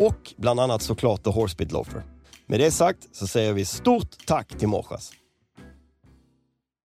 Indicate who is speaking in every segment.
Speaker 1: Och bland annat såklart The Horsebit Loafer. Med det sagt så säger vi stort tack till Morsas.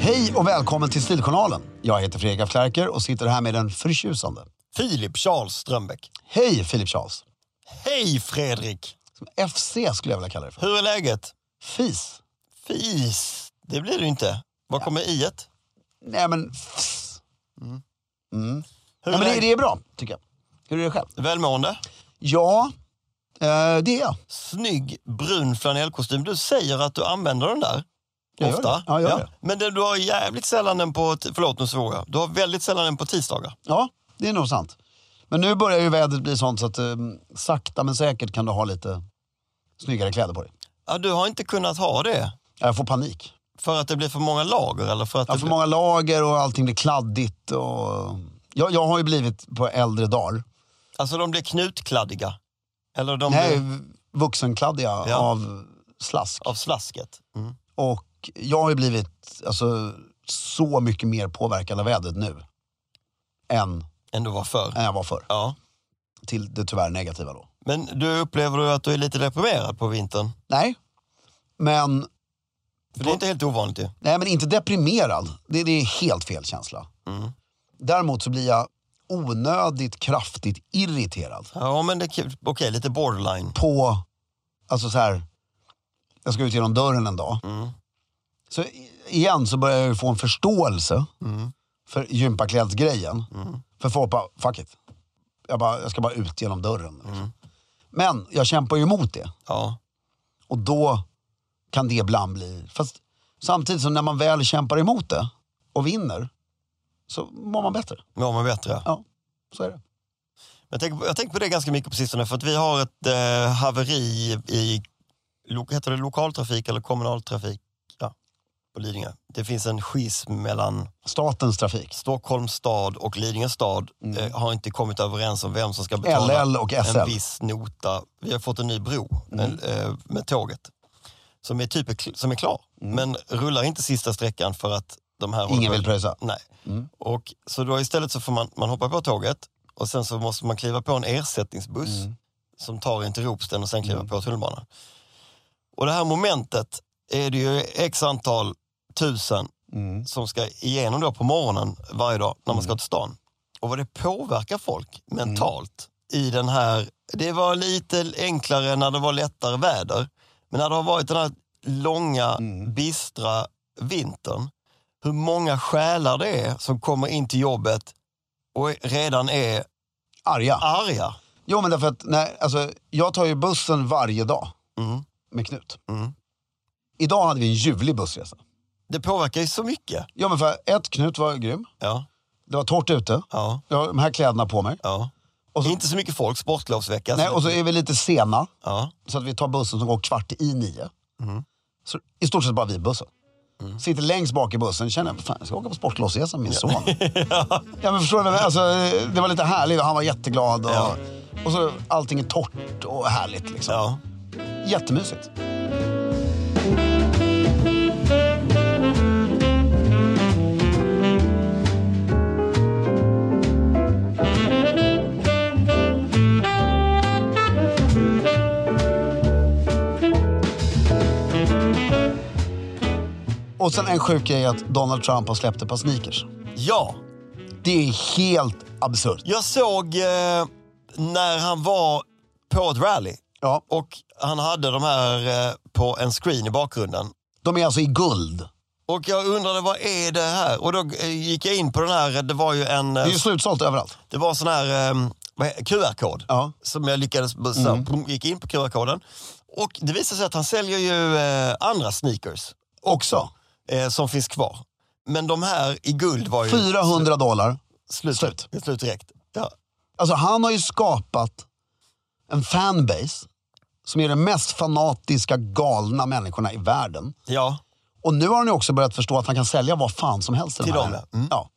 Speaker 2: Hej och välkommen till Stiljournalen. Jag heter Fredrik af Klerker och sitter här med den förtjusande.
Speaker 1: Filip Charles Strömbäck.
Speaker 2: Hej Filip Charles.
Speaker 1: Hej Fredrik!
Speaker 2: Som FC skulle jag vilja kalla det för.
Speaker 1: Hur är läget?
Speaker 2: Fis.
Speaker 1: Fis, det blir det ju inte. Var kommer i et?
Speaker 2: Nej men fs.
Speaker 1: Hur
Speaker 2: Nej, men det,
Speaker 1: läget?
Speaker 2: det är bra, tycker jag. Hur är det själv?
Speaker 1: Välmående?
Speaker 2: Ja, eh, det är jag.
Speaker 1: snygg brun flanellkostym. Du säger att du använder den där.
Speaker 2: Jag gör
Speaker 1: ofta.
Speaker 2: det. Ja, jag gör det.
Speaker 1: Men det, du har jävligt sällan den på... t- Förlåt, nu svor jag. Du har väldigt sällan den på tisdagar.
Speaker 2: Ja, det är nog sant. Men nu börjar ju vädret bli sånt så att eh, sakta men säkert kan du ha lite snyggare kläder på dig.
Speaker 1: Ja, du har inte kunnat ha det
Speaker 2: Jag får panik.
Speaker 1: för att det blir för många lager? Eller för
Speaker 2: Jag
Speaker 1: att det
Speaker 2: har för
Speaker 1: blir-
Speaker 2: många lager och allting blir kladdigt. Och... Jag, jag har ju blivit på äldre dagar.
Speaker 1: Alltså, de blir knutkladdiga. Eller de
Speaker 2: Jag är
Speaker 1: blir
Speaker 2: ju vuxenkladdiga
Speaker 1: Ja.
Speaker 2: av slask.
Speaker 1: av slasket. Mm.
Speaker 2: Och jag har ju blivit alltså, så mycket mer påverkad av vädret nu. Än,
Speaker 1: Än du var förr.
Speaker 2: än jag var förr.
Speaker 1: Ja.
Speaker 2: Till det tyvärr negativa då.
Speaker 1: Men du upplever du att du är lite deprimerad på vintern?
Speaker 2: Nej, men
Speaker 1: För det är inte helt ovanligt ju.
Speaker 2: Nej, men inte deprimerad. Det, det är helt fel känsla.
Speaker 1: Mm.
Speaker 2: Däremot så blir jag onödigt kraftigt irriterad
Speaker 1: Ja, men det är kul. Okej, lite borderline.
Speaker 2: på, alltså så här, jag ska ut genom dörren en dag.
Speaker 1: Mm.
Speaker 2: Så i- igen så börjar jag ju få en
Speaker 1: Mm.
Speaker 2: förståelse för gympaklädsgrejen. För folk bara, fuck it. Jag, bara, jag ska bara ut genom dörren. liksom.
Speaker 1: Mm.
Speaker 2: Men jag kämpar ju emot det.
Speaker 1: Ja.
Speaker 2: Och då kan det ibland bli... Fast samtidigt som när man väl kämpar emot det och vinner så mår man bättre.
Speaker 1: Mår man bättre? Ja.
Speaker 2: Ja, så är det.
Speaker 1: Jag tänker, på- jag tänker på det ganska mycket på sistone för att vi har ett eh, haveri i lo, heter det lokaltrafik eller kommunaltrafik ja, på Lidingö. Det finns en schism mellan
Speaker 2: Statens trafik.
Speaker 1: Stockholms stad och Lidingö stad
Speaker 2: Mm.
Speaker 1: eh, har inte kommit överens om vem som ska betala
Speaker 2: LL och
Speaker 1: en
Speaker 2: SL.
Speaker 1: viss nota. Vi har fått en ny bro
Speaker 2: Mm.
Speaker 1: en, eh, med tåget som är, typ, som är klar men rullar inte sista sträckan för att de här... håller
Speaker 2: Mm. Ingen
Speaker 1: på-
Speaker 2: vill pröjsa.
Speaker 1: Nej. Och, så då istället så får man, man hoppa på tåget och sen så måste man kliva på en ersättningsbuss som tar in till Ropsten och sen kliva på tunnelbanan. Och det här momentet är det ju x antal tusen som ska igenom då på morgonen varje dag när man
Speaker 2: Mm.
Speaker 1: ska till stan. Och vad det påverkar folk mentalt
Speaker 2: Mm.
Speaker 1: i den här... Det var lite enklare när det var lättare väder. Men när det har varit den här långa,
Speaker 2: Mm.
Speaker 1: bistra vintern hur många själar det är som kommer in till jobbet och redan är
Speaker 2: Arga.
Speaker 1: arga.
Speaker 2: Jo, men därför att nej, alltså, jag tar ju bussen varje dag
Speaker 1: Mm.
Speaker 2: med Knut.
Speaker 1: Mm.
Speaker 2: Idag hade vi en ljuvlig bussresa.
Speaker 1: Det påverkar ju så mycket.
Speaker 2: Ja, men för ett, Knut var grym.
Speaker 1: Ja,
Speaker 2: Det var torrt ute.
Speaker 1: ja,
Speaker 2: Jag har de här kläderna på mig.
Speaker 1: ja.
Speaker 2: Och så-
Speaker 1: Inte så mycket folk, sportlovsvecka.
Speaker 2: Nej, och så är vi lite sena.
Speaker 1: ja,
Speaker 2: Så att vi tar bussen som går kvart i nio.
Speaker 1: Mm.
Speaker 2: Så i stort sett bara vi i bussen. Sitter längst bak i bussen känner jag, fan jag ska åka på sportlovsresa med min son. ja men förstår du, vad jag menar? alltså, det var lite härligt och han var jätteglad. Och,
Speaker 1: Ja.
Speaker 2: och så allting är torrt och härligt liksom.
Speaker 1: ja.
Speaker 2: Jättemysigt. Och sen en sjuk grej är att Donald Trump har släppt ett par sneakers.
Speaker 1: ja.
Speaker 2: Det är helt absurt.
Speaker 1: Jag såg eh, när han var på ett rally
Speaker 2: Ja,
Speaker 1: och han hade de här eh, på en screen i bakgrunden.
Speaker 2: de är alltså i guld.
Speaker 1: Och jag undrade vad är det här? Och då eh, gick jag in på den här, det var ju en... eh,
Speaker 2: Det är ju slutsålt överallt.
Speaker 1: Det var sån här ehm, vad he- QR-kod
Speaker 2: Ja.
Speaker 1: som jag lyckades, så här, pum, gick in på QR-koden. Och det visar sig att han säljer ju eh, andra sneakers
Speaker 2: Också.
Speaker 1: eh, som finns kvar. Men de här i guld var ju
Speaker 2: 400 dollar.
Speaker 1: slut,
Speaker 2: slut.
Speaker 1: slut. direkt. Ja.
Speaker 2: Alltså han har ju skapat en fanbase som är de mest fanatiska, galna människorna i världen.
Speaker 1: ja.
Speaker 2: Och nu har han ju också börjat förstå att han kan sälja vad fan som helst till,
Speaker 1: Till
Speaker 2: de
Speaker 1: dem,
Speaker 2: här.
Speaker 1: ja. Mm.
Speaker 2: Ja.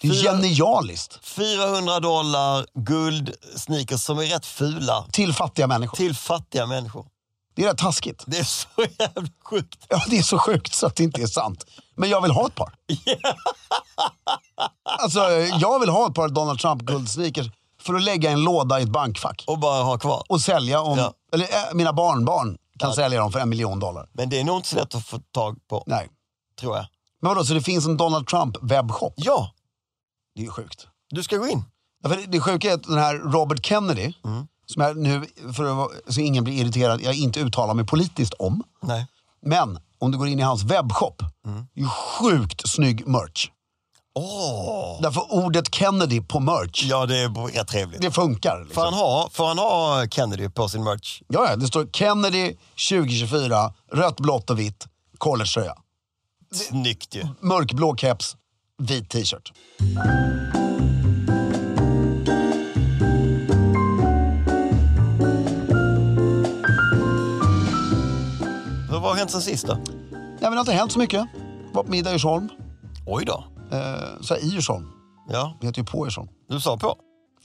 Speaker 2: Det är
Speaker 1: Fyra-
Speaker 2: genialiskt.
Speaker 1: 400 dollar guld sneakers som är rätt fula
Speaker 2: Till fattiga människor.
Speaker 1: till fattiga människor.
Speaker 2: Det är rätt taskigt.
Speaker 1: Det är så jävla sjukt.
Speaker 2: Ja, det är så sjukt så att det inte är sant. Men jag vill ha ett par. Alltså, jag vill ha ett par Donald Trump guldsneakers för att lägga i en låda i ett bankfack.
Speaker 1: Och bara ha kvar.
Speaker 2: Och sälja om...
Speaker 1: Ja.
Speaker 2: Eller äh, mina barnbarn kan sälja dem för en miljon dollar.
Speaker 1: Men det är nog inte så lätt att få tag på,
Speaker 2: Nej.
Speaker 1: tror jag.
Speaker 2: Men vadå, så det finns en Donald Trump webbshop?
Speaker 1: Ja,
Speaker 2: Det är ju sjukt.
Speaker 1: du ska gå in.
Speaker 2: Ja, för det- det sjuka är att den här Robert Kennedy, som jag nu, för att, vara- så ingen blir irriterad, jag inte uttalar mig politiskt om.
Speaker 1: Nej.
Speaker 2: Men om du går in i hans webbshop, det är ju sjukt snygg merch.
Speaker 1: Åh!
Speaker 2: Därför ordet Kennedy på merch,
Speaker 1: Ja, det är rätt trevligt.
Speaker 2: det funkar.
Speaker 1: Får,
Speaker 2: Liksom.
Speaker 1: han ha, får han ha Kennedy på sin merch?
Speaker 2: Ja, ja, det står Kennedy 2024, rött, blått och vitt, collegetröja.
Speaker 1: Snyggt ju.
Speaker 2: Mörkblå keps, vit t-shirt.
Speaker 1: Vad har hänt sen sist då?
Speaker 2: Nej, men det har inte hänt så mycket. Var på middag i Djursholm.
Speaker 1: Oj då.
Speaker 2: Eh, så här, i Djursholm.
Speaker 1: Ja,
Speaker 2: Det heter ju på Djursholm.
Speaker 1: du sa på.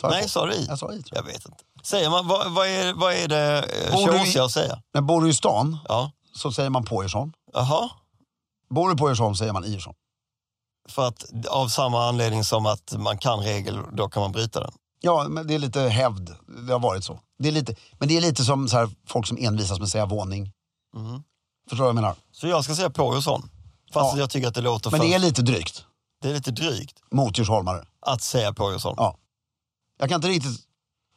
Speaker 2: Sa jag
Speaker 1: Nej,
Speaker 2: på?
Speaker 1: sa du i?
Speaker 2: Jag sa i, tror jag.
Speaker 1: Jag vet inte. Säger man, vad, vad, är, vad är det eh,
Speaker 2: Bor du i-
Speaker 1: Chaucer säger?
Speaker 2: Men bor du i stan
Speaker 1: Ja.
Speaker 2: så säger man på Djursholm.
Speaker 1: Jaha.
Speaker 2: Bor du på Djursholm säger man i Djursholm.
Speaker 1: För att av samma anledning som att man kan regel, då kan man bryta den.
Speaker 2: Ja, men det är lite hävd. Det har varit så. Det är lite, men det är lite som så här, folk som envisas med att säga våning. Förstår du vad jag menar?
Speaker 1: Mm. Så jag ska säga på och sån. Fast
Speaker 2: Ja.
Speaker 1: jag tycker att det låter
Speaker 2: Men
Speaker 1: för...
Speaker 2: det är lite drygt
Speaker 1: det är lite drygt
Speaker 2: mot djursholmare.
Speaker 1: att säga på och sån.
Speaker 2: Ja. Jag kan inte riktigt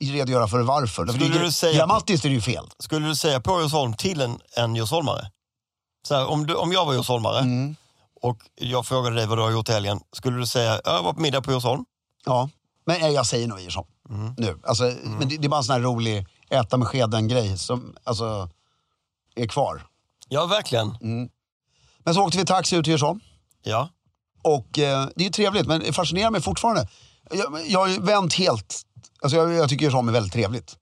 Speaker 2: redogöra för varför. Därför
Speaker 1: Skulle
Speaker 2: det, är-
Speaker 1: du säga-
Speaker 2: Grammatiskt är det ju fel.
Speaker 1: Skulle du säga på Djursholm till en, en djursholmare? Så här, om, du, om jag var djursholmare
Speaker 2: Mm.
Speaker 1: och jag frågade dig vad du har gjort i helgen. Skulle du säga jag var på middag på Djursholm?
Speaker 2: Ja. Men nej, jag säger nog i Djursholm.
Speaker 1: Mm.
Speaker 2: nu. Alltså, Men det, det är bara en sån här rolig äta med skeden-grej som alltså, är kvar.
Speaker 1: Ja, verkligen.
Speaker 2: Mm. Men så åkte vi taxi ut till Djursholm.
Speaker 1: Ja.
Speaker 2: Och eh, det är ju trevligt, men det fascinerar mig fortfarande. Jag, jag har ju vänt helt. Alltså jag, jag tycker Djursholm är väldigt trevligt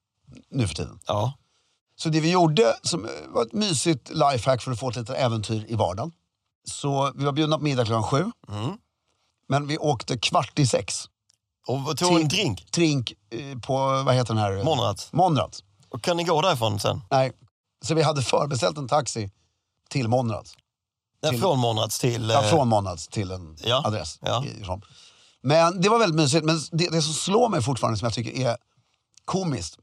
Speaker 2: nu för tiden.
Speaker 1: Ja.
Speaker 2: Så det vi gjorde, som eh, var ett mysigt lifehack för att få ett litet äventyr i vardagen. Så vi var bjudna på middag klockan sju. Men vi åkte kvart i sex.
Speaker 1: Och tog en
Speaker 2: Till-
Speaker 1: drink.
Speaker 2: Trink eh, på, vad heter den här?
Speaker 1: Monrads.
Speaker 2: Monrads.
Speaker 1: Och kan ni gå därifrån sen?
Speaker 2: Nej. Så vi hade förbeställt en taxi till Monrads.
Speaker 1: Nej,
Speaker 2: Till-
Speaker 1: från Monrads till...
Speaker 2: Ja,
Speaker 1: eh,
Speaker 2: från månads till en
Speaker 1: Ja,
Speaker 2: adress.
Speaker 1: ja.
Speaker 2: i Djursholm. Men det var väldigt mysigt. Men det, det som slår mig fortfarande som jag tycker är komiskt.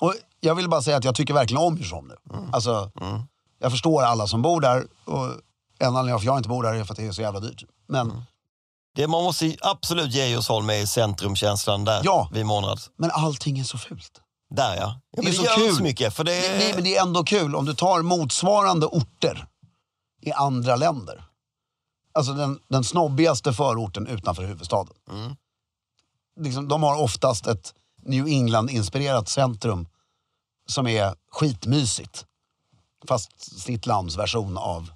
Speaker 2: Och jag vill bara säga att jag tycker verkligen om Djursholm nu.
Speaker 1: Mm.
Speaker 2: Alltså, Jag förstår alla som bor där. Och en anledning till att jag inte bor där är för att det är så jävla dyrt. Men,
Speaker 1: Mm. Det man måste ju absolut ge Djursholm är centrumkänslan där
Speaker 2: Ja.
Speaker 1: vid Monrads.
Speaker 2: men allting är så fult.
Speaker 1: Där ja. ja men
Speaker 2: är
Speaker 1: det
Speaker 2: så
Speaker 1: gör
Speaker 2: kul.
Speaker 1: inte så mycket. För det,
Speaker 2: Nej, men det är ändå kul om du tar motsvarande orter i andra länder. Alltså den, den snobbigaste förorten utanför huvudstaden.
Speaker 1: Mm.
Speaker 2: Liksom, de har oftast ett New England-inspirerat centrum som är skitmysigt. Fast sitt lands version av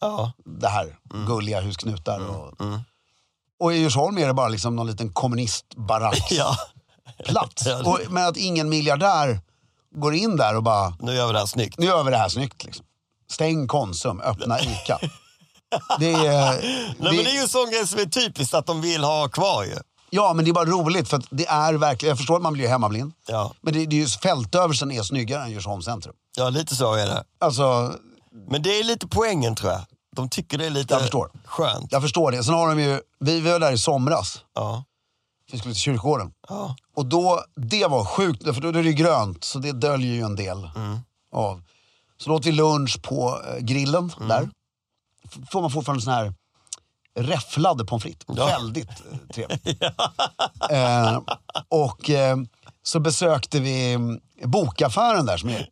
Speaker 1: ja.
Speaker 2: det här.
Speaker 1: Mm.
Speaker 2: Gulliga husknutar. Och, och i Djursholm är det bara liksom någon liten kommunistbaracksplats.
Speaker 1: ja, Ja, det-
Speaker 2: Och- Men att ingen miljardär går in där och bara
Speaker 1: nu gör vi det här snyggt.
Speaker 2: nu gör vi det här snyggt. Liksom. Stäng Konsum, öppna ICA. Det är,
Speaker 1: Nej, men det är ju en sån grej som är typiskt att de vill ha kvar ju.
Speaker 2: ja, men det är bara roligt för att det är verkligen, jag förstår att man blir hemmablind.
Speaker 1: Ja.
Speaker 2: Men det, det är ju, fältöversen är snyggare än Djursholms centrum.
Speaker 1: ja, lite så är det.
Speaker 2: Alltså,
Speaker 1: Men det är lite poängen tror jag. De tycker det är lite
Speaker 2: Jag förstår.
Speaker 1: skönt.
Speaker 2: jag förstår det. Sen har de ju, vi vi var där i somras,
Speaker 1: Ja.
Speaker 2: vi skulle till kyrkogården.
Speaker 1: Ja.
Speaker 2: Och då, det var sjukt, för då är det ju grönt så det döljer ju en del
Speaker 1: Mm.
Speaker 2: av. Så då åt vi lunch på eh, grillen
Speaker 1: Mm.
Speaker 2: där. F- Får man fortfarande sån här räfflade pommes frites.
Speaker 1: Ja.
Speaker 2: Väldigt eh, trevligt. eh, och eh, så besökte vi mm, bokaffären där som är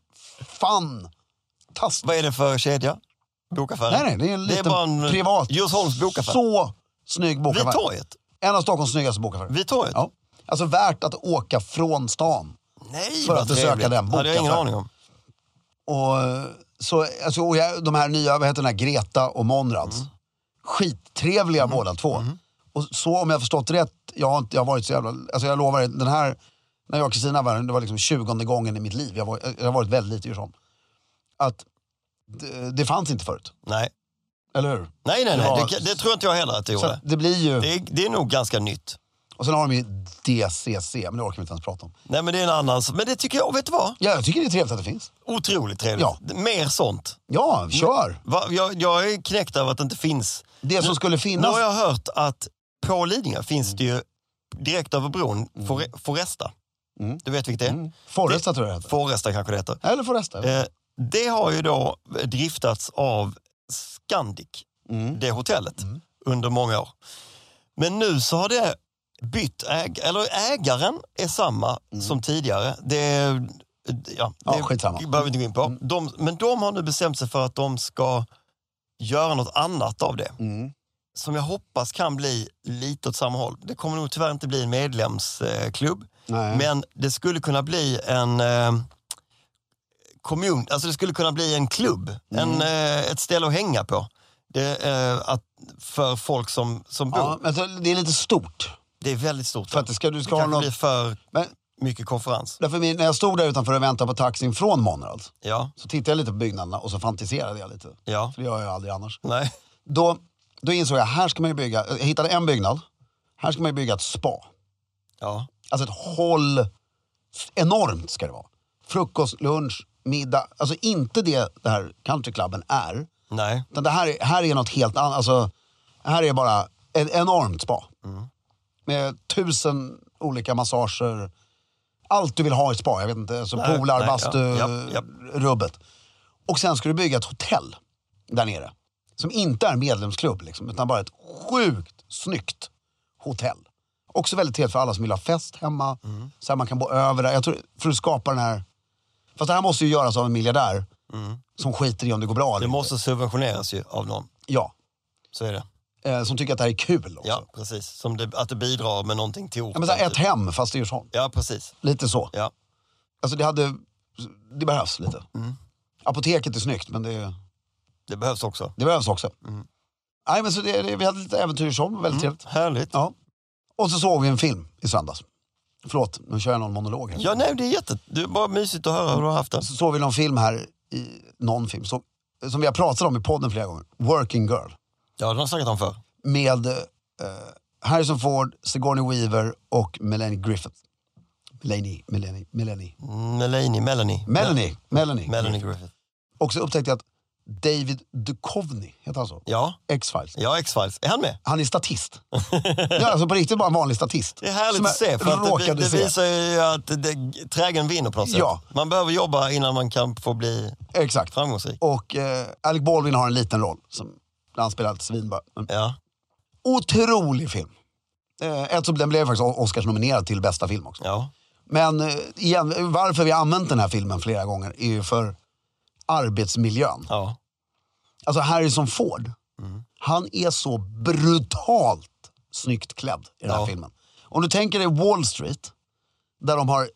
Speaker 2: fantastisk.
Speaker 1: Vad är det för kedja? Bokaffären?
Speaker 2: Nej, nej, det är en liten
Speaker 1: bara en eh,
Speaker 2: privat.
Speaker 1: Djursholms bokaffär.
Speaker 2: Så snygg bokaffär.
Speaker 1: Vid torget?
Speaker 2: En av Stockholms snyggaste bokaffärer.
Speaker 1: Vid torget?
Speaker 2: Ja. Alltså värt att åka från stan.
Speaker 1: Nej,
Speaker 2: För
Speaker 1: vad
Speaker 2: att besöka
Speaker 1: trevligt.
Speaker 2: den
Speaker 1: hade jag ingen
Speaker 2: bokaffären.
Speaker 1: aning om.
Speaker 2: Och, så, alltså, och jag, de här nya, vad heter den här, Greta och Monrads. Skittrevliga båda två. Och så om jag har förstått rätt, jag har, inte, jag har varit så jävla, alltså jag lovar, er, den här, när jag och Kristina var där, det var liksom 20 gången i mitt liv, jag, var, jag har varit väldigt lite i Djursholm. Att det, det fanns inte förut,
Speaker 1: Nej,
Speaker 2: eller hur?
Speaker 1: nej, nej. nej.
Speaker 2: Ja.
Speaker 1: Det, det tror inte jag heller att
Speaker 2: Så
Speaker 1: det gjorde.
Speaker 2: att det blir ju,
Speaker 1: Det är, det är nog ganska nytt.
Speaker 2: och sen har de ju DCC, men det orkar vi inte ens prata om.
Speaker 1: Nej, men det är en annan. Men det tycker jag, vet du vad?
Speaker 2: Ja, jag tycker det är trevligt att det finns.
Speaker 1: Otroligt trevligt.
Speaker 2: Ja.
Speaker 1: Mer sånt.
Speaker 2: Ja, kör!
Speaker 1: Va? Jag, jag är knäckt över att det inte finns.
Speaker 2: Det som skulle
Speaker 1: Nu
Speaker 2: finnas,
Speaker 1: har jag hört att på Lidingö finns det ju direkt över bron, Fore, Foresta. Du vet vilket det är?
Speaker 2: Mm. Foresta tror jag det heter.
Speaker 1: Foresta kanske det heter.
Speaker 2: Eller Foresta.
Speaker 1: Eh, det har ju då driftats av Scandic,
Speaker 2: Mm.
Speaker 1: det hotellet, under många år. Men nu så har det bytt ägare, eller ägaren är samma som tidigare. Det, är- ja,
Speaker 2: Mm. Ja,
Speaker 1: det
Speaker 2: skitsamma. Mm.
Speaker 1: behöver vi inte gå in på. De, men de har nu bestämt sig för att de ska göra något annat av det.
Speaker 2: Mm.
Speaker 1: Som jag hoppas kan bli lite åt samma håll. Det kommer nog tyvärr inte bli en medlemsklubb.
Speaker 2: Nej.
Speaker 1: Men det skulle kunna bli en eh, kommun, alltså det skulle kunna bli en klubb,
Speaker 2: Mm.
Speaker 1: en, eh, ett ställe att hänga på. Det, eh, att, för folk som, som bor.
Speaker 2: Ja, men alltså, det är lite stort.
Speaker 1: Det är väldigt stort.
Speaker 2: För att det ska, du ska
Speaker 1: kanske
Speaker 2: ha något...
Speaker 1: blir för
Speaker 2: Men,
Speaker 1: mycket konferens.
Speaker 2: därför min, när jag stod där utanför och väntade på taxin från Monrads
Speaker 1: Ja,
Speaker 2: så tittade jag lite på byggnaderna och så fantiserade jag lite.
Speaker 1: ja,
Speaker 2: För det gör jag aldrig annars.
Speaker 1: nej,
Speaker 2: Då, då insåg jag, här ska man ju bygga... Jag hittade en byggnad. Här ska man ju bygga ett spa.
Speaker 1: ja,
Speaker 2: Alltså ett håll... Enormt ska det vara. Frukost, lunch, middag. Alltså inte det den här countryklubben är.
Speaker 1: nej,
Speaker 2: Utan det här, är- här är något helt annat. Alltså, här är bara ett enormt spa.
Speaker 1: Mm.
Speaker 2: Med tusen olika massager. Allt du vill ha i ett spa. Jag vet inte. Alltså
Speaker 1: Nej,
Speaker 2: polar,
Speaker 1: nej,
Speaker 2: bastu,
Speaker 1: ja, ja, ja.
Speaker 2: rubbet. Och sen ska du bygga ett hotell där nere. Som inte är medlemsklubb, liksom, utan bara ett sjukt snyggt hotell. Också väldigt trevligt för alla som vill ha fest hemma.
Speaker 1: Mm.
Speaker 2: Så här man kan bo över där. Jag tror, för att skapa den här... Fast det här måste ju göras av en miljardär. Som skiter i om det går bra eller
Speaker 1: Mm. det
Speaker 2: inte.
Speaker 1: måste subventioneras ju av någon.
Speaker 2: Ja.
Speaker 1: Så är det.
Speaker 2: eh, som tycker att det här är kul också.
Speaker 1: Ja,
Speaker 2: Ja.
Speaker 1: precis. Som det, att det bidrar med någonting till orten.
Speaker 2: men så här, ett
Speaker 1: typ.
Speaker 2: hem fast i Djursholm.
Speaker 1: Ja, precis.
Speaker 2: Lite så.
Speaker 1: Ja.
Speaker 2: Alltså det hade... Det behövs lite.
Speaker 1: Mm.
Speaker 2: Apoteket är snyggt men det,
Speaker 1: Det behövs också.
Speaker 2: det behövs också.
Speaker 1: Mm.
Speaker 2: Nej, men så det, det, vi hade lite äventyr i Djursholm, väldigt trevligt.
Speaker 1: Härligt.
Speaker 2: Ja. Och så såg vi en film i söndags. Förlåt, nu kör jag någon monolog här.
Speaker 1: Ja, nej, det är jätte... Det är bara mysigt att höra hur du har haft det.
Speaker 2: Så såg vi någon film här, i, någon film, så, som vi har pratat om i podden flera gånger. Working Girl.
Speaker 1: Ja, det har jag snackat om förr.
Speaker 2: Med eh, Harrison Ford, Sigourney Weaver och Melanie Griffith. Melanie, Melanie, Melanie.
Speaker 1: Melanie, Melanie.
Speaker 2: Melanie, Melanie.
Speaker 1: Melanie Griffith.
Speaker 2: Och så upptäckte jag att David Duchovny, heter han så?
Speaker 1: Ja,
Speaker 2: X-Files.
Speaker 1: ja X-Files. Är han med?
Speaker 2: Han är statist. ja, alltså på riktigt bara en vanlig statist.
Speaker 1: Det är härligt
Speaker 2: Som
Speaker 1: att se.
Speaker 2: jag
Speaker 1: För att det,
Speaker 2: råkade
Speaker 1: det
Speaker 2: se.
Speaker 1: visar ju att det, trägen vinner på något sätt.
Speaker 2: Ja.
Speaker 1: Man behöver jobba innan man kan få bli
Speaker 2: Exakt.
Speaker 1: framgångsrik.
Speaker 2: Och eh, Alec Baldwin har en liten roll. Som, när han spelar ett svinbö. Men
Speaker 1: Ja.
Speaker 2: Otrolig film. Eh, eftersom den blev faktiskt Oscars-nominerad till bästa film också.
Speaker 1: ja.
Speaker 2: Men eh, igen, varför vi har använt den här filmen flera gånger är ju för arbetsmiljön.
Speaker 1: Ja.
Speaker 2: Alltså Harrison Ford,
Speaker 1: Mm.
Speaker 2: han är så brutalt snyggt klädd i den här
Speaker 1: Ja.
Speaker 2: filmen. Om du tänker dig Wall Street, där de har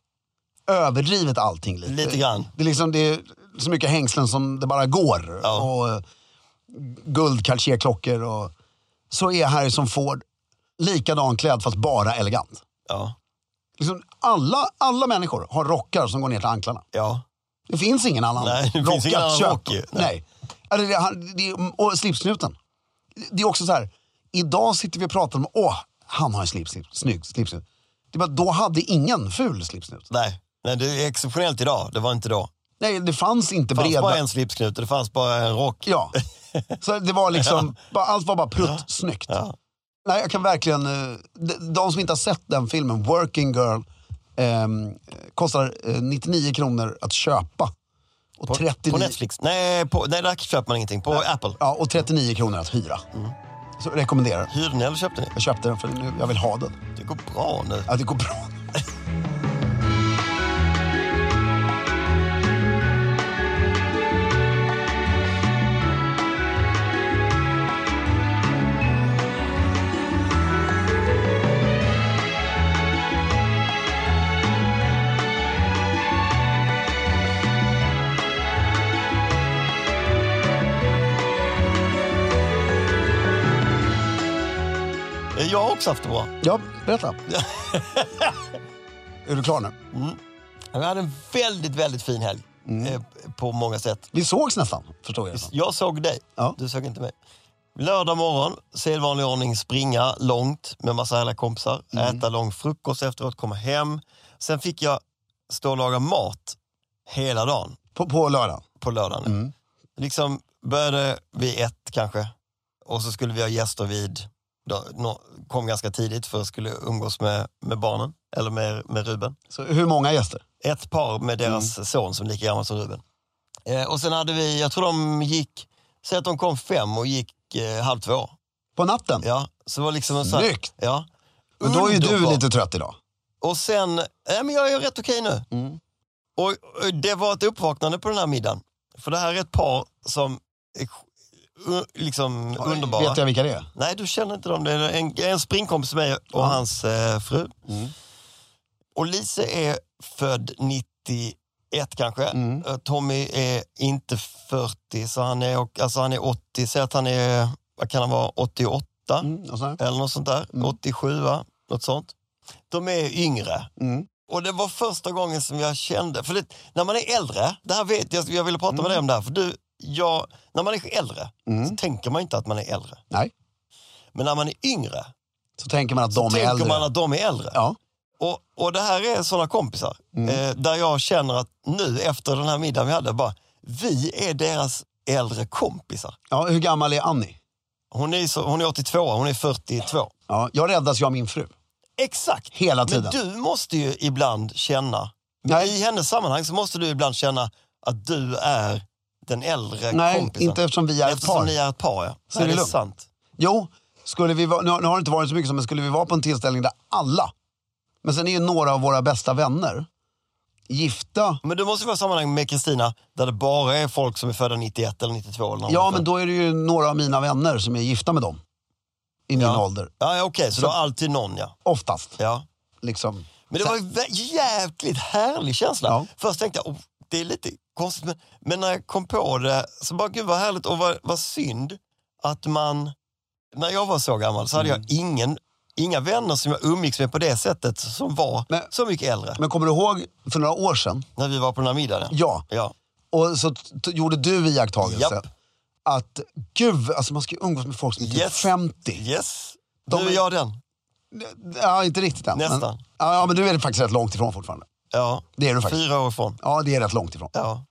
Speaker 2: överdrivit allting lite.
Speaker 1: Lite grann.
Speaker 2: Det är, liksom, det är så mycket hängslen som det bara går.
Speaker 1: Ja.
Speaker 2: Och eh, guld Cartier-klockor och... Så är Harrison Ford likadan klädd fast bara elegant.
Speaker 1: Ja.
Speaker 2: Liksom alla, alla människor har rockar som går ner till anklarna.
Speaker 1: Ja.
Speaker 2: Det finns ingen annan
Speaker 1: Nej, det finns
Speaker 2: rockad
Speaker 1: ingen annan
Speaker 2: kök.
Speaker 1: rock ju. Nej.
Speaker 2: Nej. Alltså, det, han- det, och slipsnuten. Det är också så här, idag sitter vi och pratar om, åh, han har en slips, slips, snygg slipsnut. Det är bara, då hade ingen ful slipsnut.
Speaker 1: Nej. Nej, det är exceptionellt idag. Det var inte då.
Speaker 2: Nej, det fanns inte
Speaker 1: Det fanns
Speaker 2: breda.
Speaker 1: bara en slipsknut och det fanns bara en rock.
Speaker 2: Ja. Så det var liksom, bara, allt var bara pruttsnyggt.
Speaker 1: Ja.
Speaker 2: Nej, jag kan verkligen, eh, de, de som inte har sett den filmen, Working Girl, ehm, kostar eh, 99 kronor att köpa. Och
Speaker 1: På,
Speaker 2: 39
Speaker 1: på Netflix? Nej, på, nej, där köper man ingenting. På Apple?
Speaker 2: Ja, och 39 kronor att hyra. Så jag rekommenderar den.
Speaker 1: Hyrde ni eller köpte ni?
Speaker 2: Jag köpte den för nu, jag vill ha den.
Speaker 1: Det går bra nu.
Speaker 2: Att det går bra.
Speaker 1: Jag har också haft det bra.
Speaker 2: Ja, berätta. är du klar nu?
Speaker 1: Jag hade en väldigt, väldigt fin helg. Eh, På många sätt.
Speaker 2: Vi sågs nästan, förstår jag.
Speaker 1: Jag såg dig,
Speaker 2: Ja.
Speaker 1: du såg inte mig. Lördag morgon, sedvanlig ordning, springa långt med massa härliga kompisar, äta lång frukost efteråt, komma hem. Sen fick jag stå och laga mat hela dagen
Speaker 2: På, på lördagen.
Speaker 1: på lördagen. Liksom började vid ett kanske och så skulle vi ha gäster vid, då, nå- kom ganska tidigt för jag skulle umgås med, med barnen, eller med, med Ruben
Speaker 2: Så hur många gäster?
Speaker 1: ett par med
Speaker 2: Mm.
Speaker 1: deras son som är lika gammal som Ruben. Eh, och sen hade vi, jag tror de gick, säg att de kom fem och gick eh, halv två.
Speaker 2: På natten?
Speaker 1: Ja, så det var liksom en sån här-
Speaker 2: Snyggt!
Speaker 1: Ja.
Speaker 2: Men då är ju du
Speaker 1: Underbart.
Speaker 2: lite trött idag.
Speaker 1: Och sen, nej men jag är rätt okej nu. Och, och det var ett uppvaknande på den här middagen. För det här är ett par som är sj- u- liksom underbara.
Speaker 2: Vet jag vilka det är?
Speaker 1: Nej, du känner inte dem. Det är en, en springkompis med mig och hans eh, fru.
Speaker 2: Mm.
Speaker 1: Och Lise är född 91 kanske.
Speaker 2: Mm.
Speaker 1: Eh, Tommy är inte 40, så han är, och- alltså han är 80. Säg att han är, vad kan han vara, 88
Speaker 2: Mm, och så här.
Speaker 1: eller något sånt där. 87, va? något sånt. De är yngre.
Speaker 2: Mm.
Speaker 1: Och det var första gången som jag kände, för det, när man är äldre, det här vet jag, jag ville prata med dig
Speaker 2: Mm.
Speaker 1: om det här, för du, jag, när man är äldre så tänker man inte att man är äldre.
Speaker 2: Nej.
Speaker 1: Men när man är yngre
Speaker 2: Så tänker man att
Speaker 1: så
Speaker 2: de är
Speaker 1: tänker
Speaker 2: äldre.
Speaker 1: man att de är äldre.
Speaker 2: Ja.
Speaker 1: Och, och det här är såna kompisar
Speaker 2: Mm.
Speaker 1: eh, där jag känner att nu efter den här middagen vi hade, bara, vi är deras äldre kompisar.
Speaker 2: ja, hur gammal är Annie?
Speaker 1: Hon är, så, hon är 82, hon är 42.
Speaker 2: Ja, jag räddas ju av min fru.
Speaker 1: Exakt!
Speaker 2: Hela
Speaker 1: Men
Speaker 2: tiden.
Speaker 1: du måste ju ibland känna,
Speaker 2: Nej.
Speaker 1: i hennes sammanhang så måste du ibland känna att du är den äldre
Speaker 2: Nej,
Speaker 1: kompisen.
Speaker 2: inte eftersom vi är ett
Speaker 1: Eftersom
Speaker 2: par.
Speaker 1: ni är ett par, ja.
Speaker 2: Så
Speaker 1: Nej,
Speaker 2: är det
Speaker 1: det är
Speaker 2: lugnt.
Speaker 1: sant.
Speaker 2: Jo, skulle vi vara, nu, har- nu har det inte varit så mycket så, men skulle vi vara på en tillställning där alla, men sen är ju några av våra bästa vänner gifta.
Speaker 1: Men du måste vara i sammanhang med Kristina där det bara är folk som är födda 91 eller 92 eller något.
Speaker 2: Ja, men då är det ju några av mina vänner som är gifta med dem. i min
Speaker 1: ja.
Speaker 2: ålder.
Speaker 1: Ja, ja, okej, så det var alltid någon, ja.
Speaker 2: Oftast.
Speaker 1: ja.
Speaker 2: Liksom.
Speaker 1: Men det var ju vä- jäkligt härlig känsla.
Speaker 2: Ja.
Speaker 1: Först tänkte jag, oh, det är lite konstigt, men, men när jag kom på det så bara, gud vad härligt och vad, vad synd att man, när jag var så gammal så hade
Speaker 2: Mm.
Speaker 1: jag ingen, inga vänner som jag umgicks med på det sättet som var
Speaker 2: Men-
Speaker 1: så mycket äldre.
Speaker 2: Men kommer du ihåg för några år sedan?
Speaker 1: när vi var på den här middagen.
Speaker 2: Ja.
Speaker 1: Ja.
Speaker 2: Och så t- t- gjorde du iakttagelsen.
Speaker 1: Japp.
Speaker 2: Att gud, alltså man ska ju umgås med folk som är typ
Speaker 1: Yes.
Speaker 2: 50.
Speaker 1: Yes.
Speaker 2: De
Speaker 1: nu
Speaker 2: är-
Speaker 1: är jag den.
Speaker 2: Ja, inte riktigt än. men-
Speaker 1: Nästan.
Speaker 2: Ja, ja, men du är faktiskt rätt långt ifrån fortfarande.
Speaker 1: Ja.
Speaker 2: Det är du faktiskt.
Speaker 1: Fyra år ifrån.
Speaker 2: Ja, det är rätt långt ifrån.
Speaker 1: Ja.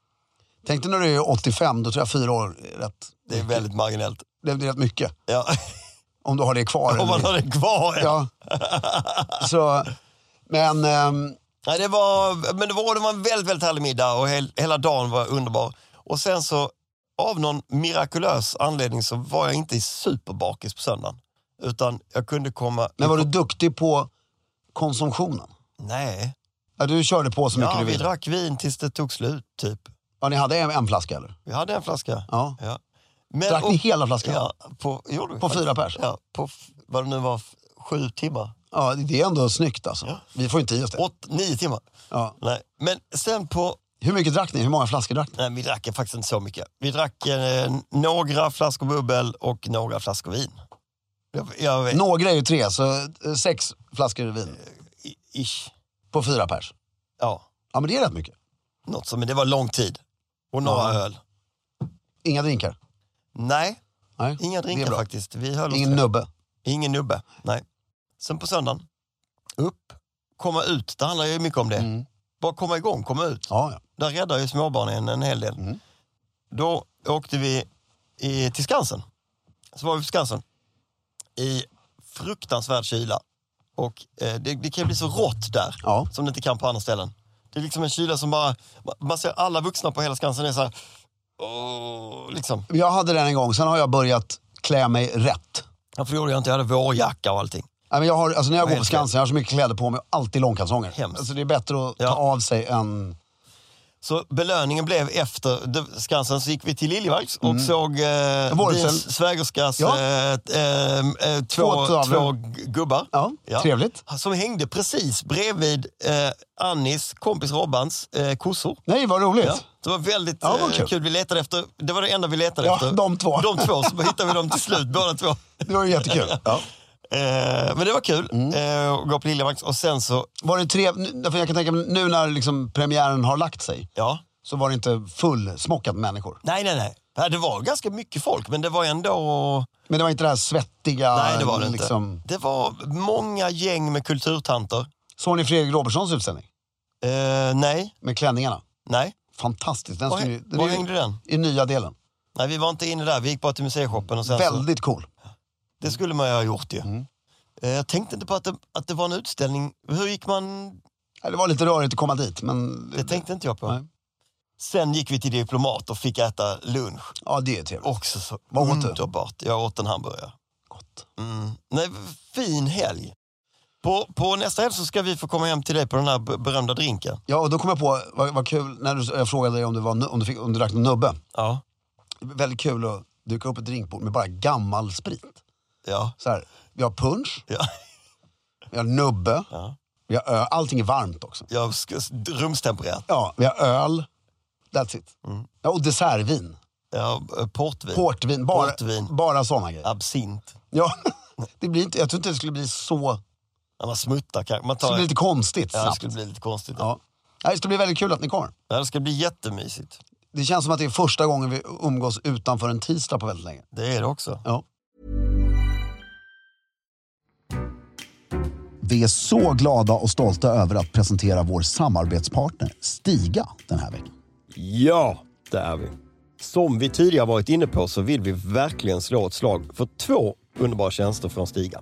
Speaker 2: Tänk dig när du är 85, då tror jag fyra år är rätt,
Speaker 1: Det är väldigt marginellt.
Speaker 2: det är rätt mycket.
Speaker 1: Ja.
Speaker 2: Om du har det kvar.
Speaker 1: Om man har det kvar.
Speaker 2: Ja. Så, men ehm,
Speaker 1: Nej, det var, men det var, det var en väldigt, väldigt härlig middag och hel, hela dagen var underbar. Och sen så, av någon mirakulös anledning så var jag inte superbakis på söndagen. Utan jag kunde komma...
Speaker 2: Men var du duktig på konsumtionen?
Speaker 1: Nej.
Speaker 2: Ja, du körde på så mycket
Speaker 1: Ja,
Speaker 2: du
Speaker 1: vi
Speaker 2: ville?
Speaker 1: drack vin tills det tog slut, typ.
Speaker 2: Ja, ni hade en, en flaska eller?
Speaker 1: Vi hade en flaska.
Speaker 2: Ja.
Speaker 1: Ja. Men,
Speaker 2: Drack ni
Speaker 1: och-
Speaker 2: hela flaskan? Ja.
Speaker 1: Ja, på, gjorde vi
Speaker 2: På
Speaker 1: faktiskt.
Speaker 2: fyra pers?
Speaker 1: Ja, på f- vad det nu var, f- sju timmar.
Speaker 2: det är ändå snyggt alltså. Vi får inte i oss det.
Speaker 1: Åt, nio timmar.
Speaker 2: Ja.
Speaker 1: Nej. Men sen på...
Speaker 2: Hur mycket drack ni? Hur många flaskor drack ni?
Speaker 1: Nej, vi drack faktiskt inte så mycket. Vi drack eh, några flaskor bubbel och några flaskor vin. Jag, jag vet,
Speaker 2: Några är ju tre, så eh, sex flaskor vin
Speaker 1: i- ish.
Speaker 2: på fyra pers.
Speaker 1: Ja,
Speaker 2: Ja, men det är rätt mycket.
Speaker 1: något som, men det var lång tid. Och några
Speaker 2: Ja.
Speaker 1: öl.
Speaker 2: Inga drinkar?
Speaker 1: Nej,
Speaker 2: Nej,
Speaker 1: inga
Speaker 2: det är
Speaker 1: drinkar
Speaker 2: bra.
Speaker 1: faktiskt. Vi höll oss
Speaker 2: Ingen
Speaker 1: där.
Speaker 2: nubbe?
Speaker 1: Ingen nubbe. Nej. Sen på söndagen, upp, komma ut. Det handlar ju mycket om det.
Speaker 2: Mm.
Speaker 1: Bara komma igång, komma ut.
Speaker 2: Ja, ja.
Speaker 1: Där räddar ju småbarnen en hel del. Då åkte vi i, till Skansen. Så var vi på Skansen. I fruktansvärd kyla. Och eh, det, det kan ju bli så rått där
Speaker 2: Ja.
Speaker 1: som det inte kan på andra ställen. Det är liksom en kyla som bara... ma- Man ser alla vuxna på hela Skansen är så här... Åh, liksom.
Speaker 2: Jag hade den en gång, sen har jag börjat klä mig rätt.
Speaker 1: Ja, för det gjorde jag inte. Jag hade vårjacka och allting.
Speaker 2: Nej, men jag har, alltså när jag går på
Speaker 1: helt
Speaker 2: Skansen, jag har så mycket kläder på mig och alltid långkalsonger.
Speaker 1: Hemskt.
Speaker 2: Alltså det är bättre att
Speaker 1: Ja.
Speaker 2: ta av sig än...
Speaker 1: Så belöningen blev efter det- Skansen så gick vi till Liljevalchs och såg eh,
Speaker 2: Vårhusen.
Speaker 1: din svägerskas
Speaker 2: Mm. Ja.
Speaker 1: eh, t- eh, eh, två,
Speaker 2: Två tavlor.
Speaker 1: två g- gubbar.
Speaker 2: Ja, trevligt.
Speaker 1: Som hängde precis bredvid eh, Annis kompis Robbans eh, kossor.
Speaker 2: Nej, vad roligt.
Speaker 1: Ja, det var väldigt
Speaker 2: Ja, vad
Speaker 1: eh,
Speaker 2: kul.
Speaker 1: kul. Vi letade efter, det var det enda vi letade
Speaker 2: Ja,
Speaker 1: efter.
Speaker 2: de två.
Speaker 1: De två, så hittade vi dem till slut båda två.
Speaker 2: Det var ju jättekul.
Speaker 1: Eh, men det var kul
Speaker 2: Mm.
Speaker 1: eh, att gå på Liljevalchs och sen så,
Speaker 2: Var det trevligt? För jag kan tänka mig, nu när liksom premiären har lagt sig
Speaker 1: ja.
Speaker 2: så var det inte fullsmockat med människor.
Speaker 1: Nej, nej, nej. Ja, Det var ganska mycket folk, men det var ändå...
Speaker 2: Men det var inte det här svettiga...
Speaker 1: Nej, det var det
Speaker 2: liksom-
Speaker 1: inte. Det var många gäng med kulturtanter.
Speaker 2: Såg ni Fredrik Robertsons utställning?
Speaker 1: Eh, nej,
Speaker 2: Med klänningarna?
Speaker 1: nej.
Speaker 2: Fantastiskt. Den
Speaker 1: Var,
Speaker 2: skulle ju- den
Speaker 1: var
Speaker 2: är ju-
Speaker 1: hängde den?
Speaker 2: I nya delen.
Speaker 1: Nej, vi var inte inne där. Vi gick bara till museishoppen och sen så,
Speaker 2: Väldigt Mm. cool.
Speaker 1: Det skulle man ju ha gjort ju. Eh, jag tänkte inte på att det, att det var en utställning. Hur gick man?
Speaker 2: Ja, Det var lite rörigt att komma dit, men...
Speaker 1: Det tänkte inte jag på.
Speaker 2: Nej.
Speaker 1: Sen gick vi till Diplomat och fick äta lunch.
Speaker 2: Ja, det är trevligt.
Speaker 1: Också så
Speaker 2: Vad åt du?
Speaker 1: underbart. Jag åt en hamburgare.
Speaker 2: Gott.
Speaker 1: Mm. Nej, fin helg. På, på nästa helg så ska vi få komma hem till dig på den här b- berömda drinken.
Speaker 2: Ja, och då kom jag på, vad, vad kul, när du, jag frågade dig om du, var, nu- om du, fick, om du drack någon nubbe.
Speaker 1: Ja.
Speaker 2: Väldigt kul att duka upp ett drinkbord med bara gammal sprit.
Speaker 1: Ja.
Speaker 2: Så här, vi har punch,
Speaker 1: ja.
Speaker 2: vi har nubbe,
Speaker 1: Ja.
Speaker 2: vi har öl. Allting är varmt också.
Speaker 1: Jag ska, rumstempererat.
Speaker 2: Ja, vi har öl. That's it.
Speaker 1: Mm.
Speaker 2: Ja, och dessertvin.
Speaker 1: Ja, eh, portvin.
Speaker 2: Portvin. Bara,
Speaker 1: Portvin.
Speaker 2: bara sådana grejer.
Speaker 1: Absint.
Speaker 2: Ja. Det blir inte, jag tror inte det skulle bli så...
Speaker 1: Ja, man smuttar kanske. Man
Speaker 2: Det skulle
Speaker 1: tar,
Speaker 2: bli lite konstigt
Speaker 1: ja, det
Speaker 2: snabbt.
Speaker 1: skulle bli lite konstigt. Ja.
Speaker 2: Ja. Nej, Det skulle bli väldigt kul att ni kommer.
Speaker 1: det ska bli jättemysigt.
Speaker 2: Det känns som att det är första gången vi umgås utanför en tisdag på väldigt länge.
Speaker 1: Det är det också.
Speaker 2: Ja. Vi är så glada och stolta över att presentera vår samarbetspartner Stiga den här veckan.
Speaker 1: Ja, det är vi. Som vi tidigare varit inne på så vill vi verkligen slå ett slag för två underbara tjänster från Stiga.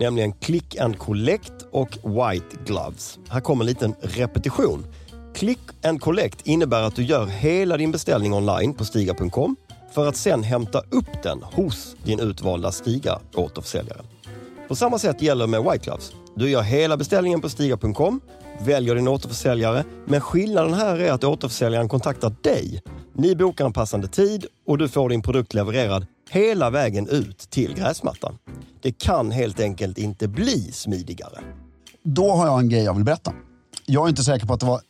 Speaker 1: Nämligen Click and Collect och White Gloves. Här kommer en liten repetition. Click and Collect innebär att du gör hela din beställning online på stiga.com för att sen hämta upp den hos din utvalda Stiga återförsäljare. På samma sätt gäller med White Gloves. Du gör hela beställningen på Stiga.com, väljer din återförsäljare, men skillnaden här är att återförsäljaren kontaktar dig. Ni bokar en passande tid och du får din produkt levererad hela vägen ut till gräsmattan. Det kan helt enkelt inte bli smidigare.
Speaker 2: Då har jag en grej jag vill berätta. Jag är inte säker på att det var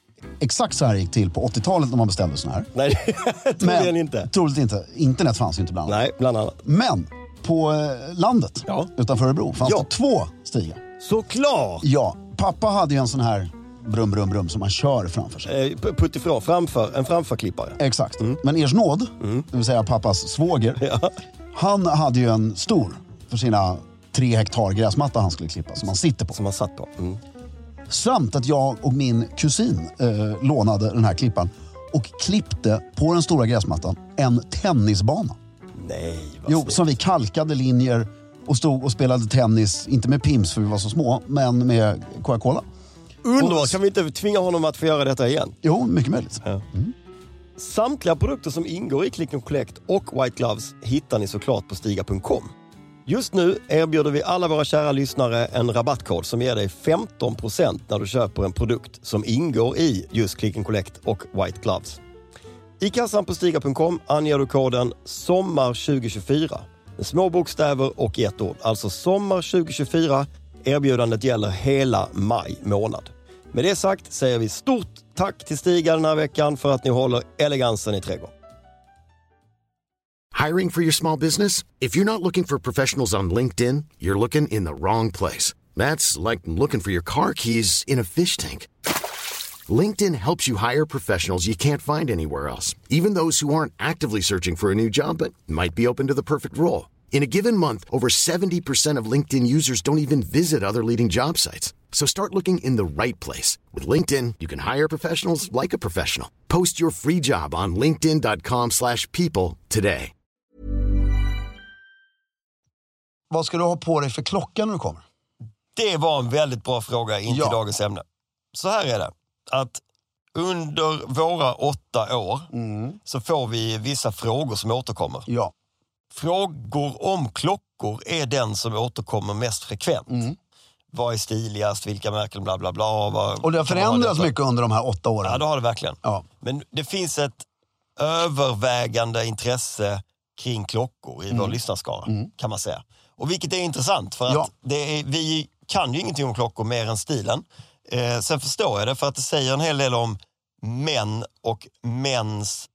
Speaker 2: exakt så här det gick till på 80-talet när man beställde såna här.
Speaker 1: Nej, troligen inte.
Speaker 2: Troligt inte. Internet fanns ju inte bland annat.
Speaker 1: Nej, bland annat.
Speaker 2: Men på eh, landet
Speaker 1: Ja.
Speaker 2: utanför Örebro fanns
Speaker 1: Ja.
Speaker 2: det två stigar.
Speaker 1: Såklart!
Speaker 2: Ja, pappa hade ju en sån här brum, brum, brum som man kör framför sig.
Speaker 1: Eh, p- Puttifrån, framför, en framförklippare.
Speaker 2: Exakt. Men Ers nåd, det vill säga pappas svåger, han hade ju en stor för sina tre hektar gräsmatta han skulle klippa som han sitter på.
Speaker 1: Som man satt på. Mm.
Speaker 2: Samt att jag och min kusin eh, lånade den här klippan och klippte på den stora gräsmattan en tennisbana.
Speaker 1: Nej, vad
Speaker 2: Jo,
Speaker 1: snyggt.
Speaker 2: som vi kalkade linjer och stod och spelade tennis, inte med pims för vi var så små, men med Coca-Cola.
Speaker 1: Underbart! Kan vi inte tvinga honom att få göra detta igen?
Speaker 2: Jo, mycket möjligt.
Speaker 1: Samtliga produkter som ingår i Click and Collect och White Gloves hittar ni såklart på Stiga.com. Just nu erbjuder vi alla våra kära lyssnare en rabattkod som ger dig 15% när du köper en produkt som ingår i just Click and Collect och White Gloves. I kassan på Stiga.com anger du koden SOMMAR2024 med små bokstäver och i ett ord. Alltså SOMMAR2024. Erbjudandet gäller hela maj månad. Med det sagt säger vi stort tack till Stiga den här veckan för att ni håller elegansen i trädgården.
Speaker 3: Hiring for your small business? If you're not looking for professionals on LinkedIn, you're looking in the wrong place. That's like looking for your car keys in a fish tank. LinkedIn helps you hire professionals you can't find anywhere else, even those who aren't actively searching for a new job but might be open to the perfect role. In a given month, over 70% of LinkedIn users don't even visit other leading job sites. So start looking in the right place. With LinkedIn, you can hire professionals like a professional. Post your free job on linkedin.com/people slash people today.
Speaker 2: Vad ska du ha på dig för klocka när du kommer?
Speaker 1: Det var en väldigt bra fråga in till
Speaker 2: Ja.
Speaker 1: dagens ämne. Så här är det, att under våra åtta år så får vi vissa frågor som återkommer.
Speaker 2: Ja.
Speaker 1: Frågor om klockor är den som återkommer mest frekvent.
Speaker 2: Mm.
Speaker 1: Vad är stiligast, vilka märken, bla bla bla. Vad,
Speaker 2: Och det har
Speaker 1: kan man ha
Speaker 2: förändrats
Speaker 1: detta?
Speaker 2: mycket under de här åtta åren.
Speaker 1: Ja, det har det verkligen.
Speaker 2: Ja.
Speaker 1: Men det finns ett övervägande intresse kring klockor i vår lyssnarskara, kan man säga. Och vilket är intressant, för att
Speaker 2: Mm. Ja.
Speaker 1: det är, vi kan ju ingenting om klockor mer än stilen. Eh, sen förstår jag det, för att det säger en hel del om män och mäns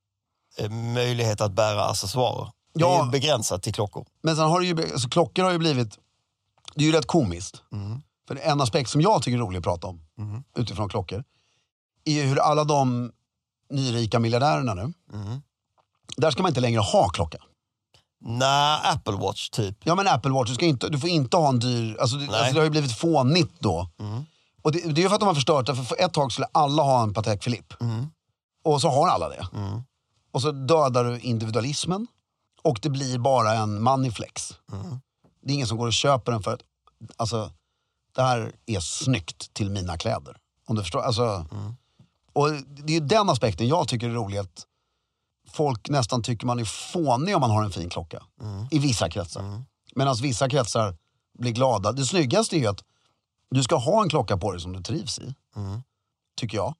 Speaker 1: eh, möjlighet att bära accessoarer. Det
Speaker 2: Ja.
Speaker 1: är begränsat till klockor.
Speaker 2: Men sen har det ju, alltså, klockor har ju blivit, det är ju rätt komiskt. För en aspekt som jag tycker är rolig att prata om, utifrån klockor, är ju hur alla de nyrika miljardärerna nu, där ska man inte längre ha klocka.
Speaker 1: Nej, Apple Watch typ.
Speaker 2: Ja men Apple Watch, du, ska inte, du får inte ha en dyr, alltså, det,
Speaker 1: Nej.
Speaker 2: alltså det har ju blivit fånigt då. Och det, det är ju för att de har förstört det, för för ett tag skulle alla ha en Patek Philippe. Och så har alla det. Och så dödar du individualismen och det blir bara en maniflex. Det är ingen som går och köper den för att, alltså, det här är snyggt till mina kläder. Om du förstår, alltså. Och det är ju den aspekten jag tycker är rolig att folk nästan tycker man är fånig om man har en fin klocka. I vissa kretsar. Medan vissa kretsar blir glada. Det snyggaste är ju att du ska ha en klocka på dig som du trivs i.
Speaker 1: Mm.
Speaker 2: Tycker jag.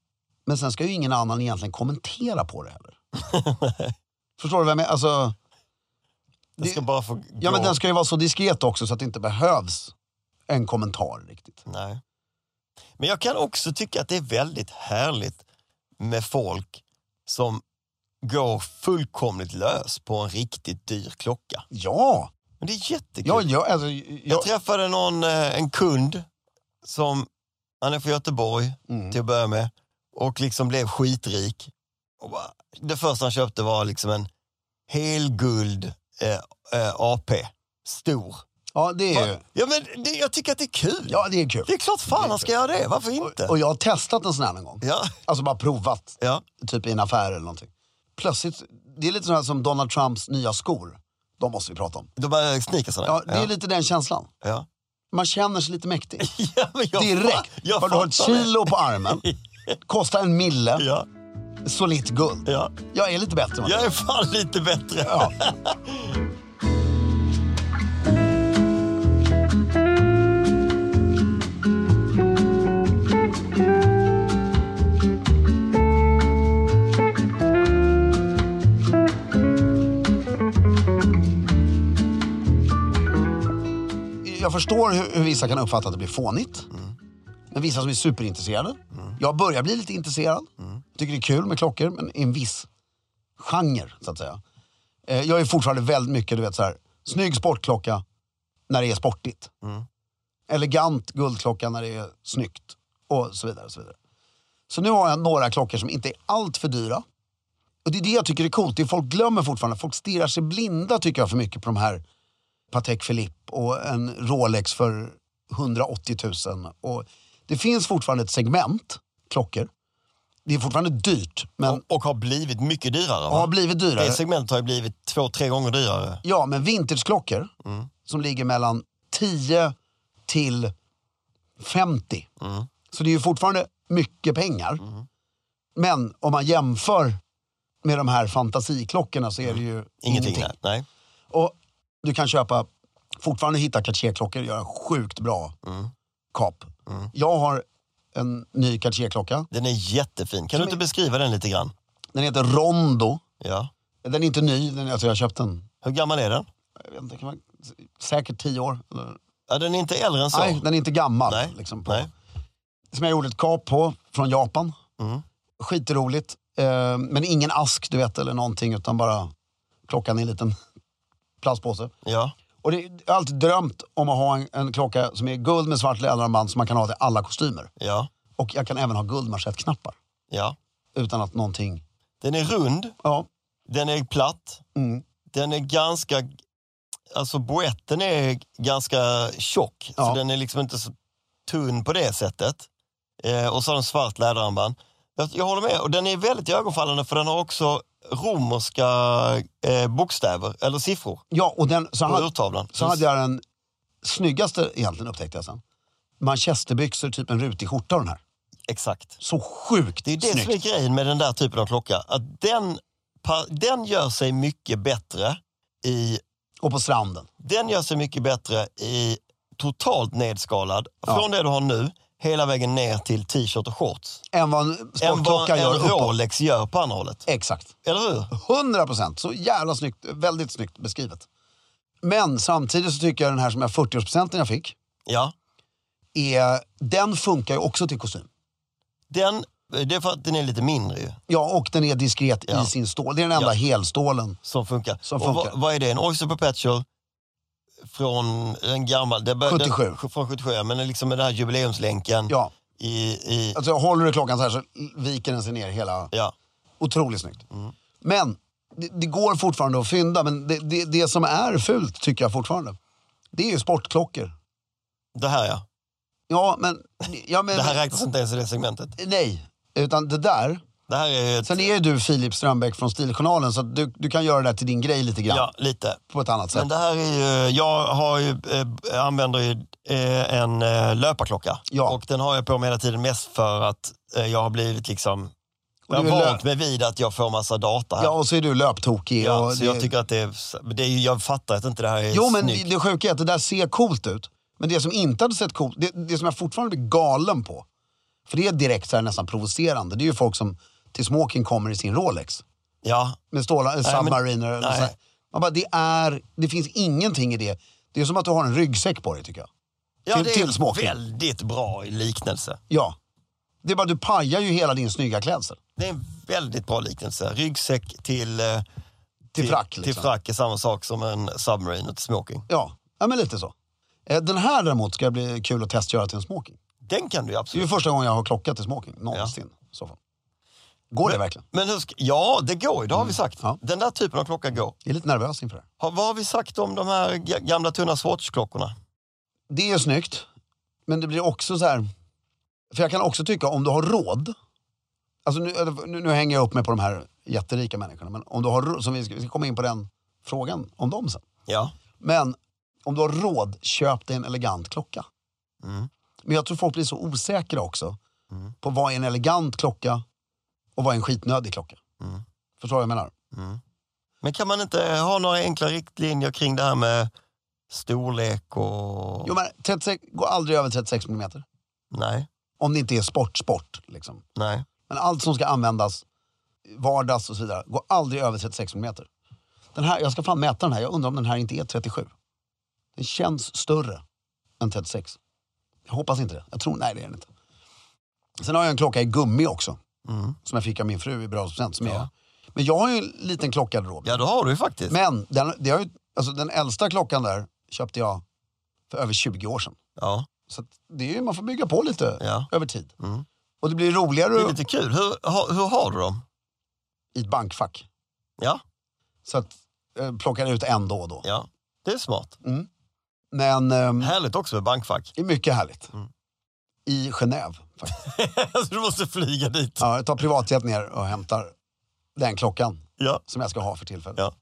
Speaker 2: Men sen ska ju ingen annan egentligen kommentera på det heller. Förstår du vad jag menar? Alltså,
Speaker 1: Den ska
Speaker 2: Det-
Speaker 1: bara få gå.
Speaker 2: ja, men den ska ju vara så diskret också så att det inte behövs en kommentar riktigt.
Speaker 1: Nej. Men jag kan också tycka att det är väldigt härligt med folk som går fullkomligt lös på en riktigt dyr klocka.
Speaker 2: Ja!
Speaker 1: Men det är jättekul.
Speaker 2: Ja, ja, alltså,
Speaker 1: Jag
Speaker 2: ja,
Speaker 1: träffade någon, eh, en kund som, han är från Göteborg
Speaker 2: mm.
Speaker 1: till att börja med och liksom blev skitrik. Och bara, det första han köpte var liksom en helguld eh, eh, AP, stor.
Speaker 2: ja, det är ju...
Speaker 1: Ja men det, jag tycker att det är kul.
Speaker 2: Ja, det är kul.
Speaker 1: Det är klart fan han ska göra det, varför inte?
Speaker 2: Och jag har testat en sån här en gång.
Speaker 1: Ja,
Speaker 2: Alltså bara provat.
Speaker 1: ja.
Speaker 2: Typ i en affär eller någonting. Plötsligt, det är lite sådär som Donald Trumps nya skor. De måste vi prata om.
Speaker 1: De här sneakersarna.
Speaker 2: Ja, det är lite den känslan.
Speaker 1: ja.
Speaker 2: Man känner sig lite mäktig.
Speaker 1: Ja, men jag,
Speaker 2: Direkt.
Speaker 1: fa- Jag
Speaker 2: Har du har ett
Speaker 1: fattar det.
Speaker 2: kilo på armen, kostar en mille,
Speaker 1: Ja,
Speaker 2: solitt guld.
Speaker 1: ja.
Speaker 2: Jag är lite bättre. man.
Speaker 1: Jag är fan lite bättre.
Speaker 2: Ja. jag förstår hur, hur vissa kan uppfatta att det blir fånigt.
Speaker 1: Mm.
Speaker 2: Men vissa som är superintresserade. Jag börjar bli lite intresserad.
Speaker 1: Mm.
Speaker 2: Tycker det är kul med klockor, men i en viss genre, så att säga. Eh, Jag är fortfarande väldigt mycket, du vet så här, snygg sportklocka när det är sportigt. Elegant guldklocka när det är snyggt. Och så vidare, och så vidare. Så nu har jag några klockor som inte är allt för dyra. Och det är det jag tycker är coolt. Det är folk glömmer fortfarande. Folk stirrar sig blinda tycker jag för mycket på de här Patek Philippe och en Rolex för 180 000. Och det finns fortfarande ett segment klockor. Det är fortfarande dyrt, men
Speaker 1: Och, och har blivit mycket dyrare.
Speaker 2: har
Speaker 1: Va?
Speaker 2: blivit dyrare.
Speaker 1: Det segmentet har ju blivit två, tre gånger dyrare.
Speaker 2: Ja, men vintageklockor som ligger mellan 10 till 50. Så det är ju fortfarande mycket pengar. Men om man jämför med de här fantasiklockorna så är det ju
Speaker 1: Ingenting. Nej. nej.
Speaker 2: Och du kan köpa, fortfarande hitta Cartier-klockor och göra sjukt bra kap. Jag har en ny Cartier-klocka.
Speaker 1: Den är jättefin. Kan du inte beskriva den lite grann?
Speaker 2: Den heter Rondo.
Speaker 1: Ja.
Speaker 2: Den är inte ny, den, alltså jag har köpt den,
Speaker 1: Hur gammal är den?
Speaker 2: jag vet inte, kan man, säkert 10 år. Eller,
Speaker 1: Ja, den är inte äldre än så.
Speaker 2: Nej, den är inte gammal.
Speaker 1: Nej,
Speaker 2: Liksom, på.
Speaker 1: nej.
Speaker 2: Som jag gjorde ett kap på från Japan.
Speaker 1: Mm.
Speaker 2: Skitroligt. Eh, men ingen ask du vet eller någonting utan bara klockan i en liten plastpåse.
Speaker 1: Ja.
Speaker 2: Och det, jag har alltid drömt om att ha en, en klocka som är guld med svart läderarmband som man kan ha till alla kostymer.
Speaker 1: Ja.
Speaker 2: Och jag kan även ha guldmanschettknappar.
Speaker 1: Ja.
Speaker 2: Utan att någonting...
Speaker 1: Den är rund.
Speaker 2: Ja.
Speaker 1: Den är platt.
Speaker 2: Mm.
Speaker 1: Den är ganska... Alltså boetten är ganska tjock.
Speaker 2: Ja.
Speaker 1: Så den är liksom inte så tunn på det sättet. Eh, och så har den svart läderarmband. Jag, jag håller med. Och den är väldigt ögonfallande för den har också romerska eh, bokstäver, eller siffror,
Speaker 2: Ja, och den, så,
Speaker 1: på
Speaker 2: hade,
Speaker 1: urtavlan.
Speaker 2: så hade jag den snyggaste egentligen upptäckte jag sen. Manchesterbyxor, typ en rutig skjorta och den här.
Speaker 1: Exakt.
Speaker 2: Så sjukt
Speaker 1: Det är det som är grejen med den där typen av klocka. Att den, pa- den gör sig mycket bättre i
Speaker 2: Och på stranden.
Speaker 1: Den gör sig mycket bättre i totalt nedskalad. Från det du har nu, hela vägen ner till t-shirt och shorts.
Speaker 2: än vad en
Speaker 1: Än vad
Speaker 2: sportklocka
Speaker 1: en
Speaker 2: gör uppåt.
Speaker 1: Rolex gör på andra hållet.
Speaker 2: Exakt.
Speaker 1: Eller hur?
Speaker 2: 100 procent. Så jävla snyggt. Väldigt snyggt beskrivet. Men samtidigt så tycker jag den här som jag 40-årspresenten jag fick,
Speaker 1: Ja.
Speaker 2: är, den funkar ju också till kostym.
Speaker 1: Den, det är för att den är lite mindre ju,
Speaker 2: Ja, och den är diskret
Speaker 1: Ja.
Speaker 2: i sin stål. Det är den enda
Speaker 1: Ja.
Speaker 2: helstålen.
Speaker 1: som funkar.
Speaker 2: Som
Speaker 1: Och
Speaker 2: funkar.
Speaker 1: vad, vad är det? En Oyster Perpetual från en gammal... Det bör,
Speaker 2: 77.
Speaker 1: Den, från 77, ja. Men det är liksom med den här jubileumslänken.
Speaker 2: Ja.
Speaker 1: I, i,
Speaker 2: Alltså håller du klockan så här så viker den sig ner hela.
Speaker 1: ja.
Speaker 2: Otroligt snyggt.
Speaker 1: Mm.
Speaker 2: Men det, det går fortfarande att fynda. Men det, det, det som är fult tycker jag fortfarande, det är ju sportklockor.
Speaker 1: Det här ja.
Speaker 2: Ja, men... Ja, men
Speaker 1: Det här räknas inte ens i det segmentet.
Speaker 2: Nej, utan det där.
Speaker 1: Det här är ju ett,
Speaker 2: Sen är ju du Filip Strömbäck från Stiljournalen så att du, du kan göra det där till din grej lite grann.
Speaker 1: Ja, lite.
Speaker 2: På ett annat sätt.
Speaker 1: Men det här är ju, jag har ju, eh, använder ju eh, en eh, löparklocka.
Speaker 2: Ja.
Speaker 1: Och den har jag på mig hela tiden mest för att eh, jag har blivit liksom, jag
Speaker 2: du
Speaker 1: har
Speaker 2: är lö-
Speaker 1: vant mig vid att jag får massa data här.
Speaker 2: Ja, och så är du löptokig.
Speaker 1: Ja,
Speaker 2: och
Speaker 1: så
Speaker 2: det,
Speaker 1: jag tycker att det är, det är, jag fattar att inte det här är
Speaker 2: jo, men
Speaker 1: snyggt.
Speaker 2: det sjuka är att det där ser coolt ut. Men det som inte hade sett coolt det, det som jag fortfarande blir galen på, för det är direkt så här nästan provocerande, det är ju folk som till smoking kommer i sin Rolex.
Speaker 1: Ja,
Speaker 2: Med stålar, eller
Speaker 1: men-
Speaker 2: submariner eller
Speaker 1: nej.
Speaker 2: så här. Man bara, det är, det finns ingenting i det. Det är som att du har en ryggsäck på dig tycker jag.
Speaker 1: ja
Speaker 2: Till-
Speaker 1: det är
Speaker 2: till smaken.
Speaker 1: väldigt bra i liknelse.
Speaker 2: Ja. Det är bara, du pajar ju hela din snygga klädsel.
Speaker 1: Det är en väldigt bra liknelse. Ryggsäck till, eh,
Speaker 2: Till, frack liksom.
Speaker 1: till frack är samma sak som en submarine och till smoking.
Speaker 2: Ja, ja men lite så. Eh, Den här däremot ska bli kul att testgöra till en smoking.
Speaker 1: Den kan du ju
Speaker 2: Det är
Speaker 1: absolut.
Speaker 2: ju första gången jag har klocka till smoking, någonsin. i Så fall. Går det verkligen? Mm.
Speaker 1: Men hur ska, ja, det går ju, det har vi sagt.
Speaker 2: ja.
Speaker 1: Den där typen av klocka går.
Speaker 2: Jag är lite nervös inför det här.
Speaker 1: Har, vad har vi sagt om de här ga- gamla tunna Swatch-klockorna?
Speaker 2: Det är ju snyggt, men det blir också så här... För jag kan också tycka, om du har råd... Alltså nu, nu, nu hänger jag upp mig på de här jätterika människorna, men om du har råd, som vi, ska, vi ska komma in på den frågan om dem sen.
Speaker 1: Ja.
Speaker 2: Men om du har råd, köp dig en elegant klocka.
Speaker 1: Mm.
Speaker 2: Men jag tror folk blir så osäkra också på vad är en elegant klocka och vad är en skitnödig klocka.
Speaker 1: Mm.
Speaker 2: Förstår du vad jag menar?
Speaker 1: Men kan man inte ha några enkla riktlinjer kring det här med storlek och...
Speaker 2: Jo, men 36, gå aldrig över 36 mm.
Speaker 1: Nej,
Speaker 2: Om det inte är sport, sport. Liksom.
Speaker 1: nej.
Speaker 2: Men allt som ska användas, vardags och så vidare, gå aldrig över 36 mm. Den här, jag ska fan mäta den här. Jag undrar om den här inte är 37. Den känns större än 36. Jag hoppas inte det. Jag tror, nej det är den inte. Sen har jag en klocka i gummi också.
Speaker 1: Mm.
Speaker 2: Som jag fick av min fru i bröllopspresent. som jag- Men jag har ju en liten klocka i garderoben.
Speaker 1: Ja, det har du ju faktiskt.
Speaker 2: Men den, det har ju, alltså, den äldsta klockan där köpte jag för över 20 år sedan.
Speaker 1: Ja.
Speaker 2: Så att det är ju, man får bygga på lite
Speaker 1: Ja. Mm.
Speaker 2: över tid. Och det blir roligare
Speaker 1: Det är lite kul. Hur, ha, hur har du dem?
Speaker 2: i ett bankfack.
Speaker 1: Ja,
Speaker 2: Så att jag plockar ut en då och då.
Speaker 1: ja. Det är smart.
Speaker 2: Mm. Men ehm,
Speaker 1: Härligt också med bankfack.
Speaker 2: det är mycket härligt. I Genève faktiskt.
Speaker 1: Så du måste flyga dit.
Speaker 2: Ja, jag tar privatjet ner och hämtar den klockan
Speaker 1: Ja.
Speaker 2: som jag ska ha för tillfället.
Speaker 1: Ja.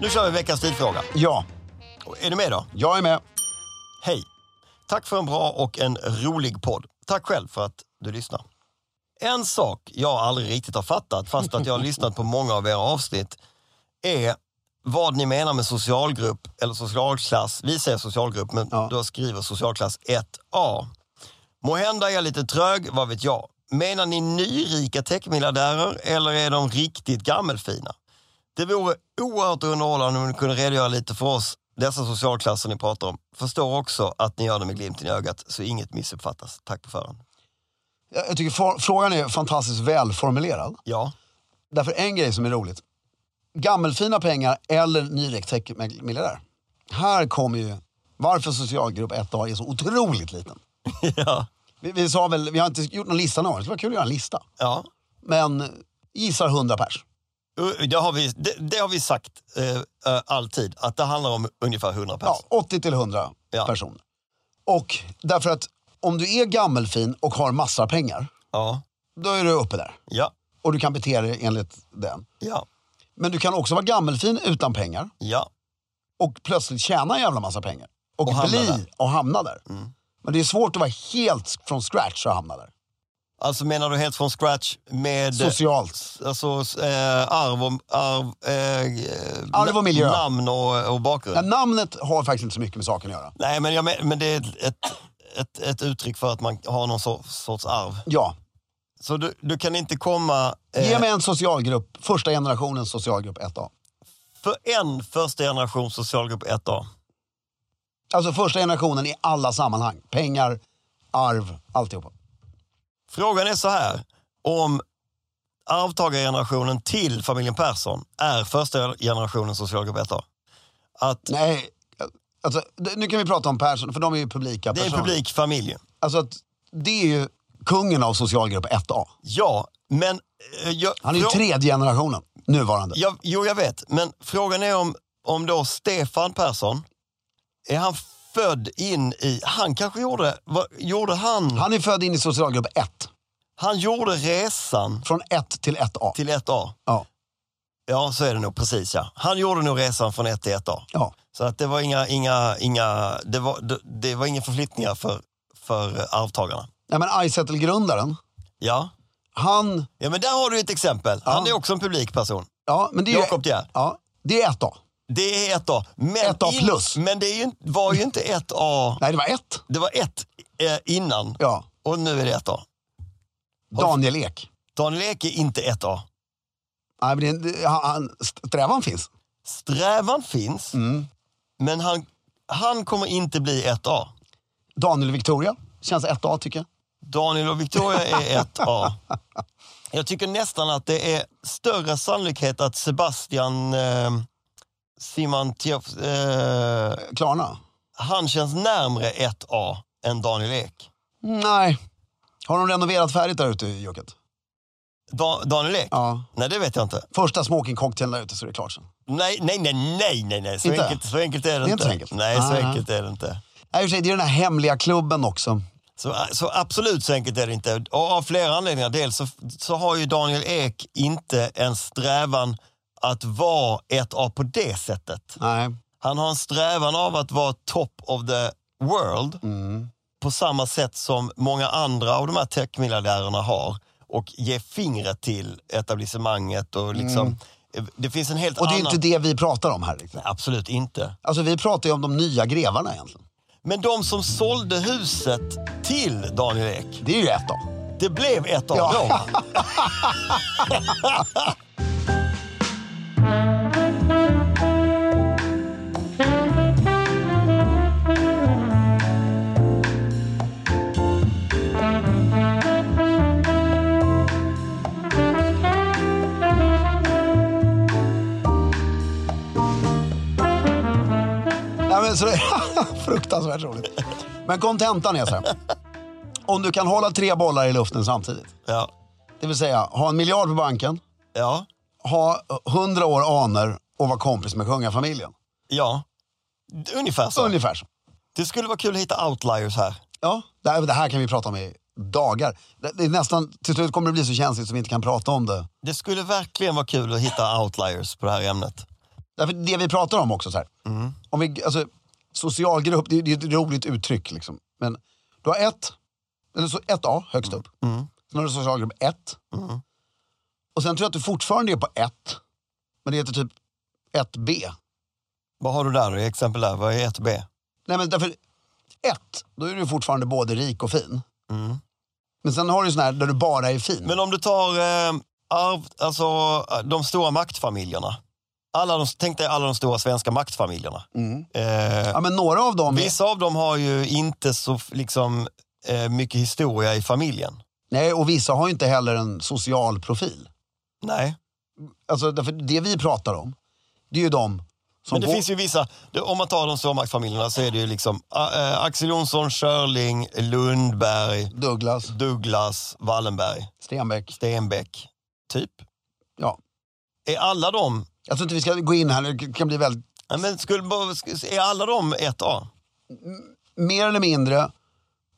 Speaker 1: Nu kör vi veckans stilfråga.
Speaker 2: ja,
Speaker 1: Är du med då?
Speaker 2: jag är med.
Speaker 1: Hej! Tack för en bra och en rolig podd. Tack själv för att du lyssnar. En sak jag aldrig riktigt har fattat, fast att jag har lyssnat på många av era avsnitt, är vad ni menar med socialgrupp eller socialklass. Vi säger socialgrupp, men
Speaker 2: Ja.
Speaker 1: då skriver socialklass 1A. Måhända är jag lite trög, vad vet jag. Menar ni nyrika techmiljardärer eller är de riktigt gammelfina? Det vore oerhört underhållande om ni kunde redogöra lite för oss, dessa socialklasser ni pratar om. Förstår också att ni gör det med glimten i ögat, så inget missuppfattas. Tack på förhand.
Speaker 2: Jag jag tycker for- frågan är fantastiskt välformulerad.
Speaker 1: Ja,
Speaker 2: Därför en grej som är roligt. Gammelfina pengar eller nyrik miljardär. Här kommer ju varför socialgrupp 1A är så otroligt liten.
Speaker 1: ja,
Speaker 2: Vi, vi sa väl, vi har inte gjort någon lista någon gång. Det skulle vara kul att göra en lista.
Speaker 1: ja.
Speaker 2: Men eh, gissar 100 pers.
Speaker 1: U- Det har vi, det, det har vi sagt eh, eh, alltid, att det handlar om ungefär 100 personer.
Speaker 2: Ja, 80 till 100
Speaker 1: Ja.
Speaker 2: personer. Och därför att om du är gammelfin och har massa pengar,
Speaker 1: Ja,
Speaker 2: då är du uppe där.
Speaker 1: ja,
Speaker 2: Och du kan bete dig enligt den.
Speaker 1: ja,
Speaker 2: Men du kan också vara gammelfin utan pengar
Speaker 1: ja.
Speaker 2: och plötsligt tjäna en jävla massa pengar. Och,
Speaker 1: Och hamna
Speaker 2: bli
Speaker 1: där. Mm.
Speaker 2: och hamna där. Men det är svårt att vara helt från scratch och hamna där.
Speaker 1: Alltså menar du helt från scratch med...
Speaker 2: Socialt.
Speaker 1: Alltså eh, arv och... Arv, eh,
Speaker 2: Arv och miljö.
Speaker 1: Namn och, och bakgrund.
Speaker 2: Ja, namnet har faktiskt inte så mycket med saken att göra.
Speaker 1: Nej, men, jag, men men det är ett, ett, ett, ett uttryck för att man har någon sorts, sorts arv.
Speaker 2: Ja,
Speaker 1: Så du, du kan inte komma... eh,
Speaker 2: ge mig en socialgrupp. Första generationens socialgrupp 1A.
Speaker 1: För en första generation socialgrupp 1A.
Speaker 2: Alltså första generationen i alla sammanhang. Pengar, arv, alltihopa.
Speaker 1: Frågan är så här. Om arvtagargenerationen till familjen Persson är första generationen socialgrupp 1A. Att
Speaker 2: Nej, alltså, d- nu kan vi prata om Persson, för de är ju publika
Speaker 1: det är en
Speaker 2: personer.
Speaker 1: publik familj.
Speaker 2: Alltså, att det är ju kungen av socialgrupp 1A.
Speaker 1: Ja, men... eh, Jag,
Speaker 2: Han är ju
Speaker 1: frå-
Speaker 2: tredje generationen, nuvarande.
Speaker 1: jag, Jo, jag vet. Men frågan är om, om då Stefan Persson, är han född in i... Han kanske gjorde... Vad, gjorde han...
Speaker 2: Han är född in i socialgrupp 1,
Speaker 1: Han gjorde resan
Speaker 2: från 1 till 1A.
Speaker 1: till 1A.
Speaker 2: Ja,
Speaker 1: Ja, så är det nog. Precis, ja. Han gjorde nog resan från 1 till 1A.
Speaker 2: ja.
Speaker 1: Så att det var inga, inga, inga, det var, det, det var inga förflyttningar för, för arvtagarna.
Speaker 2: Nej, men Izettle-grundaren,
Speaker 1: Ja.
Speaker 2: han...
Speaker 1: ja, men där har du ett exempel. Han är också en publik person.
Speaker 2: Ja, men det är ju-
Speaker 1: Jakob De Geer.
Speaker 2: Ja, det är 1A.
Speaker 1: Det är 1A. Men
Speaker 2: 1A plus.
Speaker 1: In, men det är ju, inte- var ju inte 1A,
Speaker 2: Nej, det var 1.
Speaker 1: det var 1 eh, innan
Speaker 2: Ja,
Speaker 1: och nu är det 1A.
Speaker 2: Daniel Ek.
Speaker 1: Daniel Ek är inte 1A.
Speaker 2: Nej, men det, är- det, han, han, strävan finns.
Speaker 1: Strävan finns,
Speaker 2: Mm.
Speaker 1: men han, han kommer inte bli 1A.
Speaker 2: Daniel Victoria, känns 1A tycker jag.
Speaker 1: Daniel och Victoria är ett A. Jag tycker nästan att det är större sannolikhet att Sebastian eh, Simon Tiof, eh,
Speaker 2: Klarna?
Speaker 1: han känns närmre ett A än Daniel Ek.
Speaker 2: Nej. Har de renoverat färdigt där ute i Joket?
Speaker 1: Da, Daniel Ek?
Speaker 2: Ja.
Speaker 1: Nej, det vet jag inte.
Speaker 2: Första smokingcocktailn där ute så är det klart sen.
Speaker 1: Nej, nej, nej, nej, nej, nej. Så,
Speaker 2: Inte?
Speaker 1: enkelt, så enkelt är det,
Speaker 2: Det är inte så enkelt.
Speaker 1: Nej, så
Speaker 2: Nej, nej.
Speaker 1: enkelt är det inte.
Speaker 2: Nej, i och för sig, det är den här hemliga klubben också.
Speaker 1: Så, så absolut så enkelt är det inte. Och av flera anledningar. Dels så, så har ju Daniel Ek inte en strävan att vara ett A på det sättet.
Speaker 2: Nej.
Speaker 1: Han har en strävan av att vara top of the world
Speaker 2: Mm.
Speaker 1: på samma sätt som många andra av de här techmiljardärerna har och ge fingret till etablissemanget och liksom Det finns en helt
Speaker 2: Mm. Och det är
Speaker 1: annan...
Speaker 2: ju inte det vi pratar om här. Liksom.
Speaker 1: Absolut inte.
Speaker 2: Alltså vi pratar ju om de nya grevarna egentligen.
Speaker 1: Men de som sålde huset till Daniel Ek,
Speaker 2: Det är ju ett av.
Speaker 1: det blev ett av
Speaker 2: Ja.
Speaker 1: dem.
Speaker 2: Nej, men så det fruktansvärt roligt. Men kontentan är så här. Om du kan hålla tre bollar i luften samtidigt.
Speaker 1: Ja.
Speaker 2: Det vill säga ha en miljard på banken,
Speaker 1: Ja.
Speaker 2: ha hundra år aner och vara kompis med kungafamiljen.
Speaker 1: Ja. Ungefär så.
Speaker 2: Ungefär så.
Speaker 1: Det skulle vara kul att hitta outliers här.
Speaker 2: Ja, det här, det här kan vi prata om i dagar. Det, det är nästan, till slut kommer det bli så känsligt så vi inte kan prata om det.
Speaker 1: Det skulle verkligen vara kul att hitta outliers på det här ämnet.
Speaker 2: Därför det vi pratar om också så här.
Speaker 1: Mm.
Speaker 2: Om vi, alltså, social grupp, det, det är ett roligt uttryck liksom. Men du har ett, eller så ett A högst
Speaker 1: Mm.
Speaker 2: upp. Sen har du social grupp ett. Och sen tror jag att du fortfarande är på ett. Men det heter typ 1B.
Speaker 1: Vad har du där i exempel där? Vad är 1B?
Speaker 2: Nej men därför, ett, då är du fortfarande både rik och fin. Men sen har du sån här där du bara är fin.
Speaker 1: Mm. Men om du tar eh, arv, alltså, de stora maktfamiljerna. Alla de, tänk dig alla de stora svenska maktfamiljerna. Eh,
Speaker 2: ja men några av dem, är,
Speaker 1: vissa av dem har ju inte så f- liksom, eh, mycket historia i familjen.
Speaker 2: nej och vissa har ju inte heller en social profil.
Speaker 1: Nej.
Speaker 2: Alltså därför det vi pratar om, det är ju de som
Speaker 1: Men det
Speaker 2: går-
Speaker 1: finns ju vissa, det- om man tar de stora maktfamiljerna så är det ju liksom a- eh, Axel Jonsson, Schörling, Lundberg,
Speaker 2: Douglas,
Speaker 1: Douglas, Wallenberg,
Speaker 2: Stenbeck.
Speaker 1: Stenbeck, typ.
Speaker 2: Ja.
Speaker 1: Är alla de,
Speaker 2: Jag tror inte vi ska gå in här, det kan bli väldigt...
Speaker 1: ja, men skulle, bara- sk- är alla de 1A?
Speaker 2: Mer eller mindre,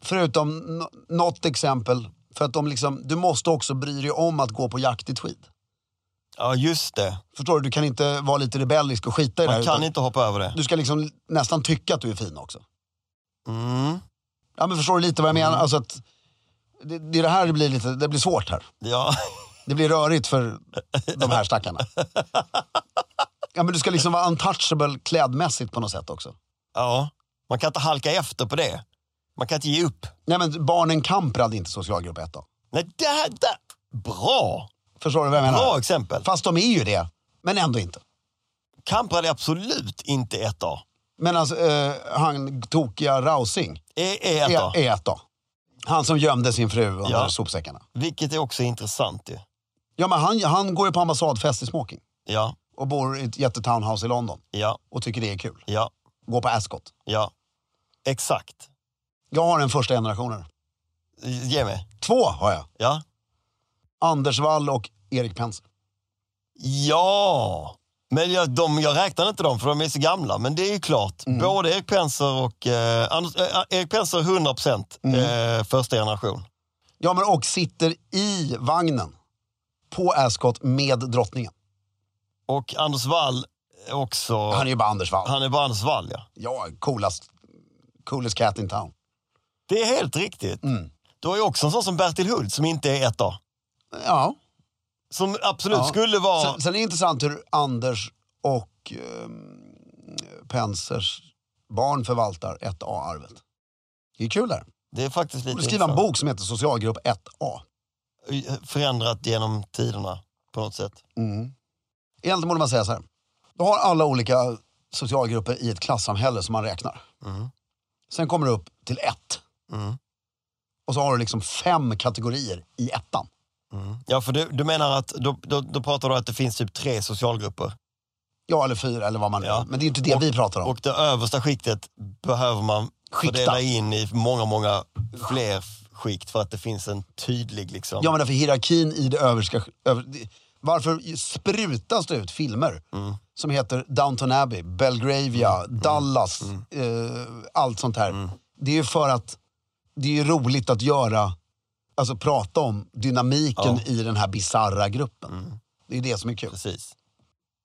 Speaker 2: förutom nå- något exempel, för att de liksom, du måste också bry dig om att gå på jakt i tweed.
Speaker 1: Ja, just det.
Speaker 2: Förstår du? Du kan inte vara lite rebellisk och skita i det här.
Speaker 1: Man kan
Speaker 2: utan
Speaker 1: inte hoppa över det.
Speaker 2: Du ska liksom nästan tycka att du är fin också.
Speaker 1: Mm.
Speaker 2: Ja, men förstår du lite vad jag menar? Alltså att, det, det är det här det blir lite, det blir svårt här.
Speaker 1: Ja.
Speaker 2: Det blir rörigt för de här stackarna. Ja, men du ska liksom vara untouchable klädmässigt på något sätt också.
Speaker 1: ja, man kan inte halka efter på det. Man kan inte ge upp.
Speaker 2: Nej men barnen Kamprad hade inte socialgrupp 1 då.
Speaker 1: Nej, där, där. Bra!
Speaker 2: Förstår du vad jag menar?
Speaker 1: Bra exempel.
Speaker 2: Fast de är ju det, men ändå inte.
Speaker 1: Kamprad är absolut inte 1A.
Speaker 2: Men alltså, eh, han tokiga Rausing
Speaker 1: Är, är 1A.
Speaker 2: är, är ett då. Han som gömde sin fru under
Speaker 1: Ja.
Speaker 2: sopsäckarna.
Speaker 1: Vilket är också intressant ju.
Speaker 2: Ja, men han, han går ju på ambassadfest i smoking
Speaker 1: Ja,
Speaker 2: och bor i ett jättetownhouse i London
Speaker 1: ja,
Speaker 2: och tycker det är kul.
Speaker 1: ja,
Speaker 2: Går på Ascot.
Speaker 1: ja. Exakt.
Speaker 2: Jag har en första generationen.
Speaker 1: Ge mig.
Speaker 2: Två har jag.
Speaker 1: Ja.
Speaker 2: Anders Wall och Erik Penser.
Speaker 1: Ja! Men jag, de, jag räknar inte dem för de är så gamla. Men det är ju klart.
Speaker 2: Mm.
Speaker 1: Både Erik Penser och... Eh, Anders, eh, Erik Penser 100 procent
Speaker 2: Mm.
Speaker 1: eh, första generation.
Speaker 2: Ja, men och sitter i vagnen på Ascot med drottningen.
Speaker 1: Och Anders Wall också.
Speaker 2: Han är ju bara Anders Wall.
Speaker 1: han är bara Anders Wall, ja.
Speaker 2: Ja, coolast, coolest cat in town.
Speaker 1: Det är helt riktigt.
Speaker 2: Mm.
Speaker 1: Du har ju också en sån som Bertil Hult som inte är ett A.
Speaker 2: Ja.
Speaker 1: Som absolut
Speaker 2: ja.
Speaker 1: skulle vara...
Speaker 2: Sen, sen är det intressant hur Anders och ehm, Pensers barn förvaltar 1A-arvet. Det är kul där.
Speaker 1: det är faktiskt lite...
Speaker 2: Borde skriva en
Speaker 1: intressant.
Speaker 2: bok som heter Socialgrupp 1A.
Speaker 1: Förändrat genom tiderna på något sätt.
Speaker 2: Egentligen borde man säga så här. Du har alla olika socialgrupper i ett klassamhälle som man räknar.
Speaker 1: Mm.
Speaker 2: Sen kommer du upp till ett. Och så har du liksom fem kategorier i ettan.
Speaker 1: Ja, för du, du menar att... Då, då, då pratar du att det finns typ tre socialgrupper.
Speaker 2: Ja, eller fyra eller vad man nu
Speaker 1: Ja.
Speaker 2: Men det är ju inte det vi pratar om.
Speaker 1: Och det översta skiktet behöver man
Speaker 2: Skikta.
Speaker 1: fördela in i många, många fler skikt för att det finns en tydlig liksom...
Speaker 2: Ja men därför hierarkin i det överska... Över, det- varför sprutas det ut filmer
Speaker 1: Mm.
Speaker 2: som heter Downton Abbey, Belgravia, Dallas,
Speaker 1: Mm.
Speaker 2: eh, allt sånt här. Det är ju för att det är ju roligt att göra, alltså prata om dynamiken i den här bizarra gruppen. Det är ju det som är kul.
Speaker 1: Precis.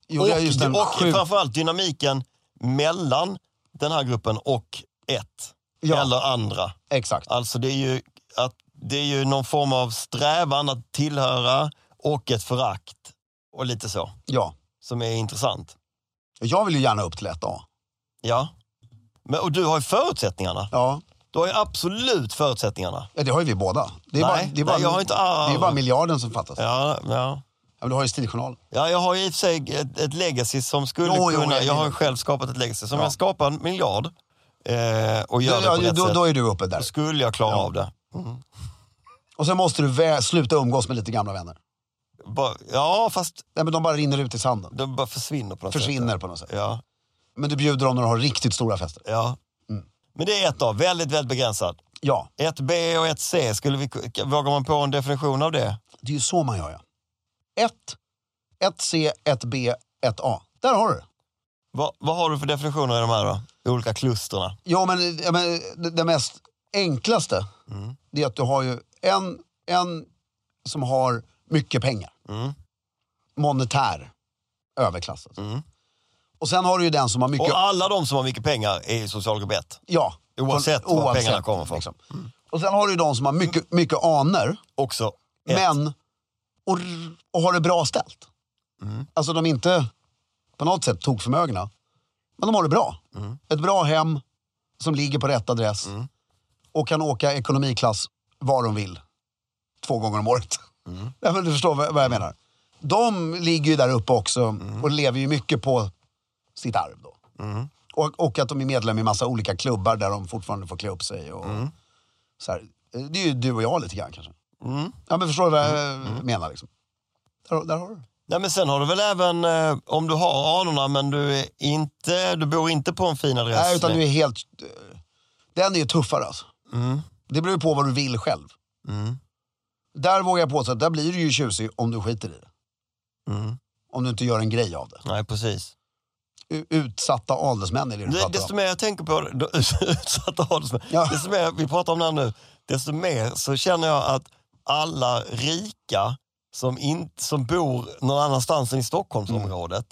Speaker 2: Jo,
Speaker 1: Mm. Och,
Speaker 2: det är just den
Speaker 1: och
Speaker 2: sjuk...
Speaker 1: framförallt dynamiken mellan den här gruppen och ett.
Speaker 2: Ja.
Speaker 1: Eller andra.
Speaker 2: Exakt.
Speaker 1: Alltså det är, ju att, det är ju någon form av strävan att tillhöra och ett förakt. Och lite så.
Speaker 2: Ja.
Speaker 1: som är intressant.
Speaker 2: Jag vill ju gärna upp till 1A.
Speaker 1: Ja. Men, och du har ju förutsättningarna.
Speaker 2: Ja.
Speaker 1: Du har ju absolut förutsättningarna.
Speaker 2: ja, det har ju vi båda. Det är,
Speaker 1: Nej,
Speaker 2: bara, det är, bara,
Speaker 1: nej, jag har inte arv.
Speaker 2: det är bara miljarden som fattas. Ja.
Speaker 1: Ja, ja.
Speaker 2: men du har ju Stiljournalen.
Speaker 1: ja jag har ju i och för sig ett, ett legacy som skulle
Speaker 2: Jo, jo,
Speaker 1: kunna...
Speaker 2: jag-
Speaker 1: jag har ju själv skapat ett legacy. Så om
Speaker 2: Ja.
Speaker 1: jag skapar en miljard eh, och gör det
Speaker 2: Ja,
Speaker 1: på
Speaker 2: ja,
Speaker 1: rätt
Speaker 2: då,
Speaker 1: sätt,
Speaker 2: då är du uppe där.
Speaker 1: då skulle jag klara av det.
Speaker 2: Och sen måste du vä- sluta umgås med lite gamla vänner.
Speaker 1: Bara, ja, fast
Speaker 2: Nej, men de bara rinner ut i sanden.
Speaker 1: de bara försvinner på något
Speaker 2: Försvinner
Speaker 1: sätt.
Speaker 2: på något sätt.
Speaker 1: Ja,
Speaker 2: Men du bjuder dem när du har riktigt stora fester.
Speaker 1: ja.
Speaker 2: Mm.
Speaker 1: Men det är ett A, väldigt, väldigt begränsad.
Speaker 2: Ja,
Speaker 1: Ett B och ett C, skulle vi, k- vågar man på en definition av det?
Speaker 2: det är ju så man gör ja. 1, 1C, 1B, 1A. Där har du det.
Speaker 1: Vad, vad har du för definitioner i de här då? De olika klusterna?
Speaker 2: Ja, men, ja, men det, det mest enklaste det är att du har ju en, en som har mycket pengar. Monetär överklass. alltså. Och sen har du ju den som har mycket...
Speaker 1: Och alla de som har mycket pengar är i socialgrupp 1.
Speaker 2: ja, liksom. Mm.
Speaker 1: oavsett var pengarna kommer ifrån.
Speaker 2: Och sen har du ju de som har mycket, mycket aner,
Speaker 1: Också ett.
Speaker 2: men... Och, och har det bra ställt. Alltså de är inte på något sätt tokförmögna, men de har det bra. Ett bra hem som ligger på rätt adress och kan åka ekonomiklass var de vill. Två gånger om året. Ja, men du förstår vad vad jag menar. De ligger ju där uppe också och lever ju mycket på sitt arv då. Och, och att de är medlem i massa olika klubbar där de fortfarande får klä upp sig. Och, så här. Det är ju du och jag lite grann kanske. Ja, men förstår du vad jag
Speaker 1: Mm.
Speaker 2: menar? Liksom. Där, där har du det.
Speaker 1: Nej, men sen har du väl även, eh, om du har anorna men du, är inte, du bor inte på en fin adress.
Speaker 2: Nej, utan du är helt... eh, Den är ju tuffare alltså.
Speaker 1: Mm,
Speaker 2: Det beror ju på vad du vill själv. Där vågar jag påstå att där blir du ju tjusig om du skiter i det. Om du inte gör en grej av det.
Speaker 1: mm. Nej, precis.
Speaker 2: U- utsatta adelsmän är det du
Speaker 1: Det,
Speaker 2: pratar
Speaker 1: desto
Speaker 2: om.
Speaker 1: mer jag tänker på det, utsatta adelsmän,
Speaker 2: Ja.
Speaker 1: desto mer vi pratar om det här nu, desto mer så känner jag att alla rika som, in, som bor någon annanstans än i Stockholmsområdet,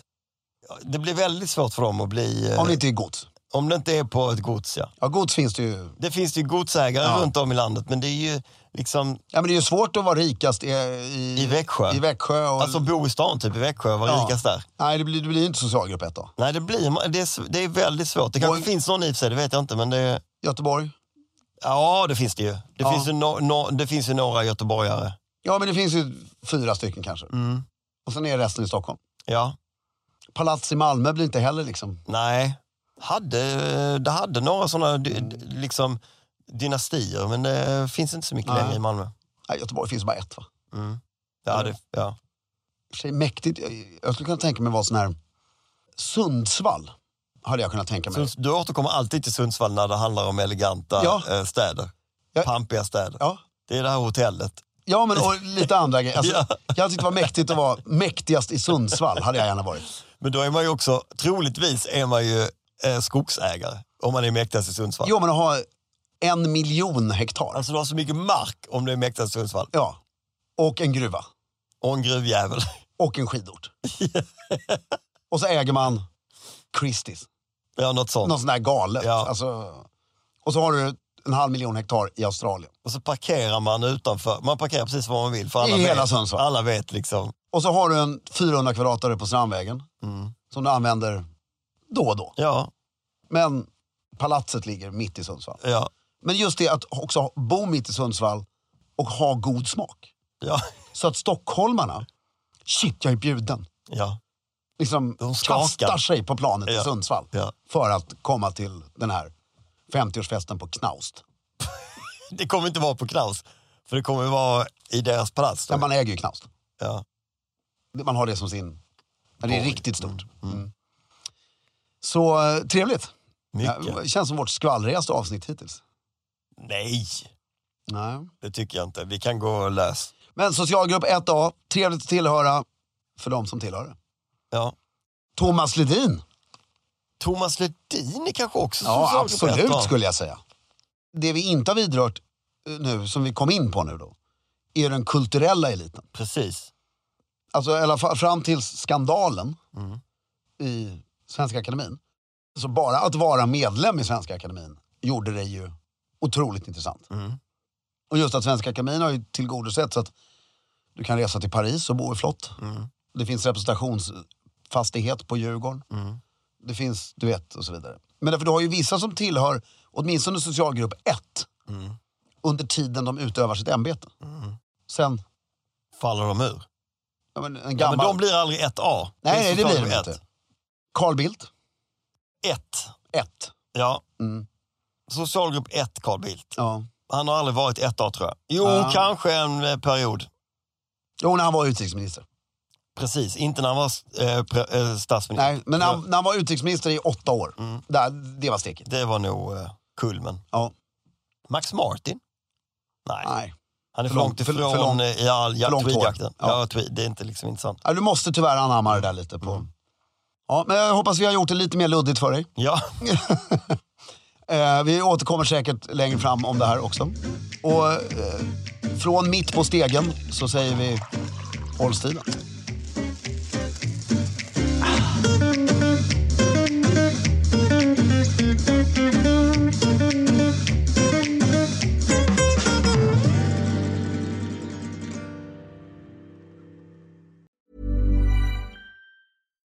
Speaker 1: det blir väldigt svårt för dem att bli...
Speaker 2: Mm.
Speaker 1: eh,
Speaker 2: Om det inte är gods.
Speaker 1: om det inte är på ett gods, ja.
Speaker 2: Ja, gods finns det ju.
Speaker 1: Det finns ju godsägare
Speaker 2: Ja.
Speaker 1: runt om i landet, men det är ju liksom
Speaker 2: Ja, men det är ju svårt att vara rikast i, i,
Speaker 1: I Växjö.
Speaker 2: I Växjö och,
Speaker 1: Alltså bo i stan typ i Växjö och vara
Speaker 2: Ja.
Speaker 1: rikast där.
Speaker 2: Nej, det blir, det blir ju inte socialgrupp 1 då.
Speaker 1: Nej, det, blir, man- det, är, sv- det är väldigt svårt. Det kanske
Speaker 2: Och-
Speaker 1: finns någon i och för sig, det vet jag inte. Men det,
Speaker 2: Göteborg?
Speaker 1: ja, det finns det ju. Det,
Speaker 2: Ja.
Speaker 1: finns, ju no, no, det finns ju några göteborgare.
Speaker 2: Ja, men det finns ju fyra stycken kanske. Och sen är resten i Stockholm.
Speaker 1: Ja,
Speaker 2: Palats i Malmö blir inte heller liksom...
Speaker 1: nej. Hade, det hade några sådana dy- d- liksom, dynastier, men det finns inte så mycket
Speaker 2: Nej.
Speaker 1: längre i Malmö.
Speaker 2: Nej, Göteborg finns bara ett va?
Speaker 1: Ja,
Speaker 2: Mm.
Speaker 1: det, ja.
Speaker 2: för sig mäktigt. Jag- Jag skulle kunna tänka mig vara sån här... Sundsvall hade jag kunnat tänka mig.
Speaker 1: Sunds- Du återkommer alltid till Sundsvall när det handlar om eleganta
Speaker 2: Ja.
Speaker 1: eh, städer.
Speaker 2: Ja.
Speaker 1: Pampiga städer.
Speaker 2: Ja.
Speaker 1: Det är det här hotellet.
Speaker 2: ja, men och lite andra grejer. Alltså,
Speaker 1: Ja.
Speaker 2: Jag tyckte det var mäktigt att vara mäktigast i Sundsvall, hade jag gärna varit.
Speaker 1: Men då är man ju också, troligtvis är man ju eh, skogsägare om man är mäktigast i Sundsvall.
Speaker 2: Jo, men att ha en miljon hektar.
Speaker 1: Alltså du har så mycket mark om du är mäktigast i Sundsvall.
Speaker 2: Ja. Och en gruva.
Speaker 1: Och en gruvjävel.
Speaker 2: Och en skidort. Och så äger man Christies.
Speaker 1: Ja, något sånt.
Speaker 2: Någon sån där galet.
Speaker 1: Ja.
Speaker 2: Alltså, och så har du en halv miljon hektar i Australien.
Speaker 1: Och så parkerar man utanför. Man parkerar precis var man vill. För alla
Speaker 2: I
Speaker 1: vet,
Speaker 2: hela Sundsvall.
Speaker 1: Alla vet liksom.
Speaker 2: Och så har du en 400 kvadratare på Strandvägen.
Speaker 1: Mm.
Speaker 2: Som du använder då och då.
Speaker 1: Ja,
Speaker 2: Men palatset ligger mitt i Sundsvall.
Speaker 1: ja,
Speaker 2: Men just det att också bo mitt i Sundsvall och ha god smak.
Speaker 1: ja.
Speaker 2: Så att stockholmarna, shit jag är bjuden.
Speaker 1: ja.
Speaker 2: Liksom
Speaker 1: De skakar.
Speaker 2: kastar sig på planet
Speaker 1: Ja.
Speaker 2: i Sundsvall.
Speaker 1: Ja.
Speaker 2: För att komma till den här 50-årsfesten på Knaust.
Speaker 1: Det kommer inte vara på Knaus. För det kommer vara i deras palats.
Speaker 2: Ja,
Speaker 1: Då.
Speaker 2: man äger ju Knaust.
Speaker 1: Ja.
Speaker 2: Man har det som sin... Ja, det är riktigt stort. Mm. Så eh, trevligt.
Speaker 1: Mycket.
Speaker 2: Ja, Eh, känns som vårt skvallrigaste avsnitt hittills.
Speaker 1: Nej,
Speaker 2: Nej.
Speaker 1: det tycker jag inte. Vi kan gå lös.
Speaker 2: Men socialgrupp 1A, trevligt att tillhöra för de som tillhör det.
Speaker 1: Ja.
Speaker 2: Thomas Ledin?
Speaker 1: Thomas Ledin är kanske också
Speaker 2: Ja,
Speaker 1: socialgrupp ett, va?
Speaker 2: absolut skulle jag säga. Det vi inte har vidrört eh, nu, som vi kom in på nu då, är den kulturella eliten.
Speaker 1: Precis.
Speaker 2: Alltså i alla fall fram till skandalen i Svenska Akademin. Så bara att vara medlem i Svenska Akademin gjorde det ju otroligt intressant. Och just att Svenska Akademin har ju Mm. tillgodosett så att du kan resa till Paris och bo i flott. Det finns representations fastighet på Djurgården.
Speaker 1: Mm,
Speaker 2: Det finns, du vet, och så vidare. Men därför, du har ju vissa som tillhör åtminstone socialgrupp 1 Mm. under tiden de utövar sitt ämbete.
Speaker 1: mm.
Speaker 2: Sen,
Speaker 4: Faller de ur?
Speaker 2: ja, men en
Speaker 4: Ja,
Speaker 2: gammal...
Speaker 4: men de blir aldrig 1A.
Speaker 2: Nej, nej, det blir
Speaker 4: socialgrupp
Speaker 2: de inte. Carl Bildt,
Speaker 4: 1.
Speaker 2: 1.
Speaker 4: Ja.
Speaker 2: Mm.
Speaker 4: Socialgrupp 1, Carl Bildt.
Speaker 2: Ja.
Speaker 4: Han har aldrig varit 1A, tror jag. Jo,
Speaker 2: Ah.
Speaker 4: kanske en eh, period.
Speaker 2: Jo, när han var utrikesminister.
Speaker 4: Precis, inte när han var eh, pre- eh, statsminister.
Speaker 2: Nej, men när han, när han var utrikesminister i åtta år. Där, det var steket.
Speaker 4: Det var nog eh, kulmen.
Speaker 2: Mm. Ja.
Speaker 4: Max Martin? Nej,
Speaker 2: Nej.
Speaker 4: han är för
Speaker 2: För
Speaker 4: långt
Speaker 2: lång- för-
Speaker 4: ifrån
Speaker 2: för lång-
Speaker 4: eh, i all
Speaker 2: för
Speaker 4: ja,
Speaker 2: långt hår.
Speaker 4: tweedjakten. Ja.
Speaker 2: Ja.
Speaker 4: tweed, det är inte liksom intressant.
Speaker 2: Ja, Du måste tyvärr anamma det där lite. på. Ja, men jag hoppas vi har gjort det lite mer luddigt för dig.
Speaker 4: Ja,
Speaker 2: Eh, vi återkommer säkert längre fram om det här också. Och eh, från mitt på stegen så säger vi håll stilen.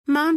Speaker 5: Mom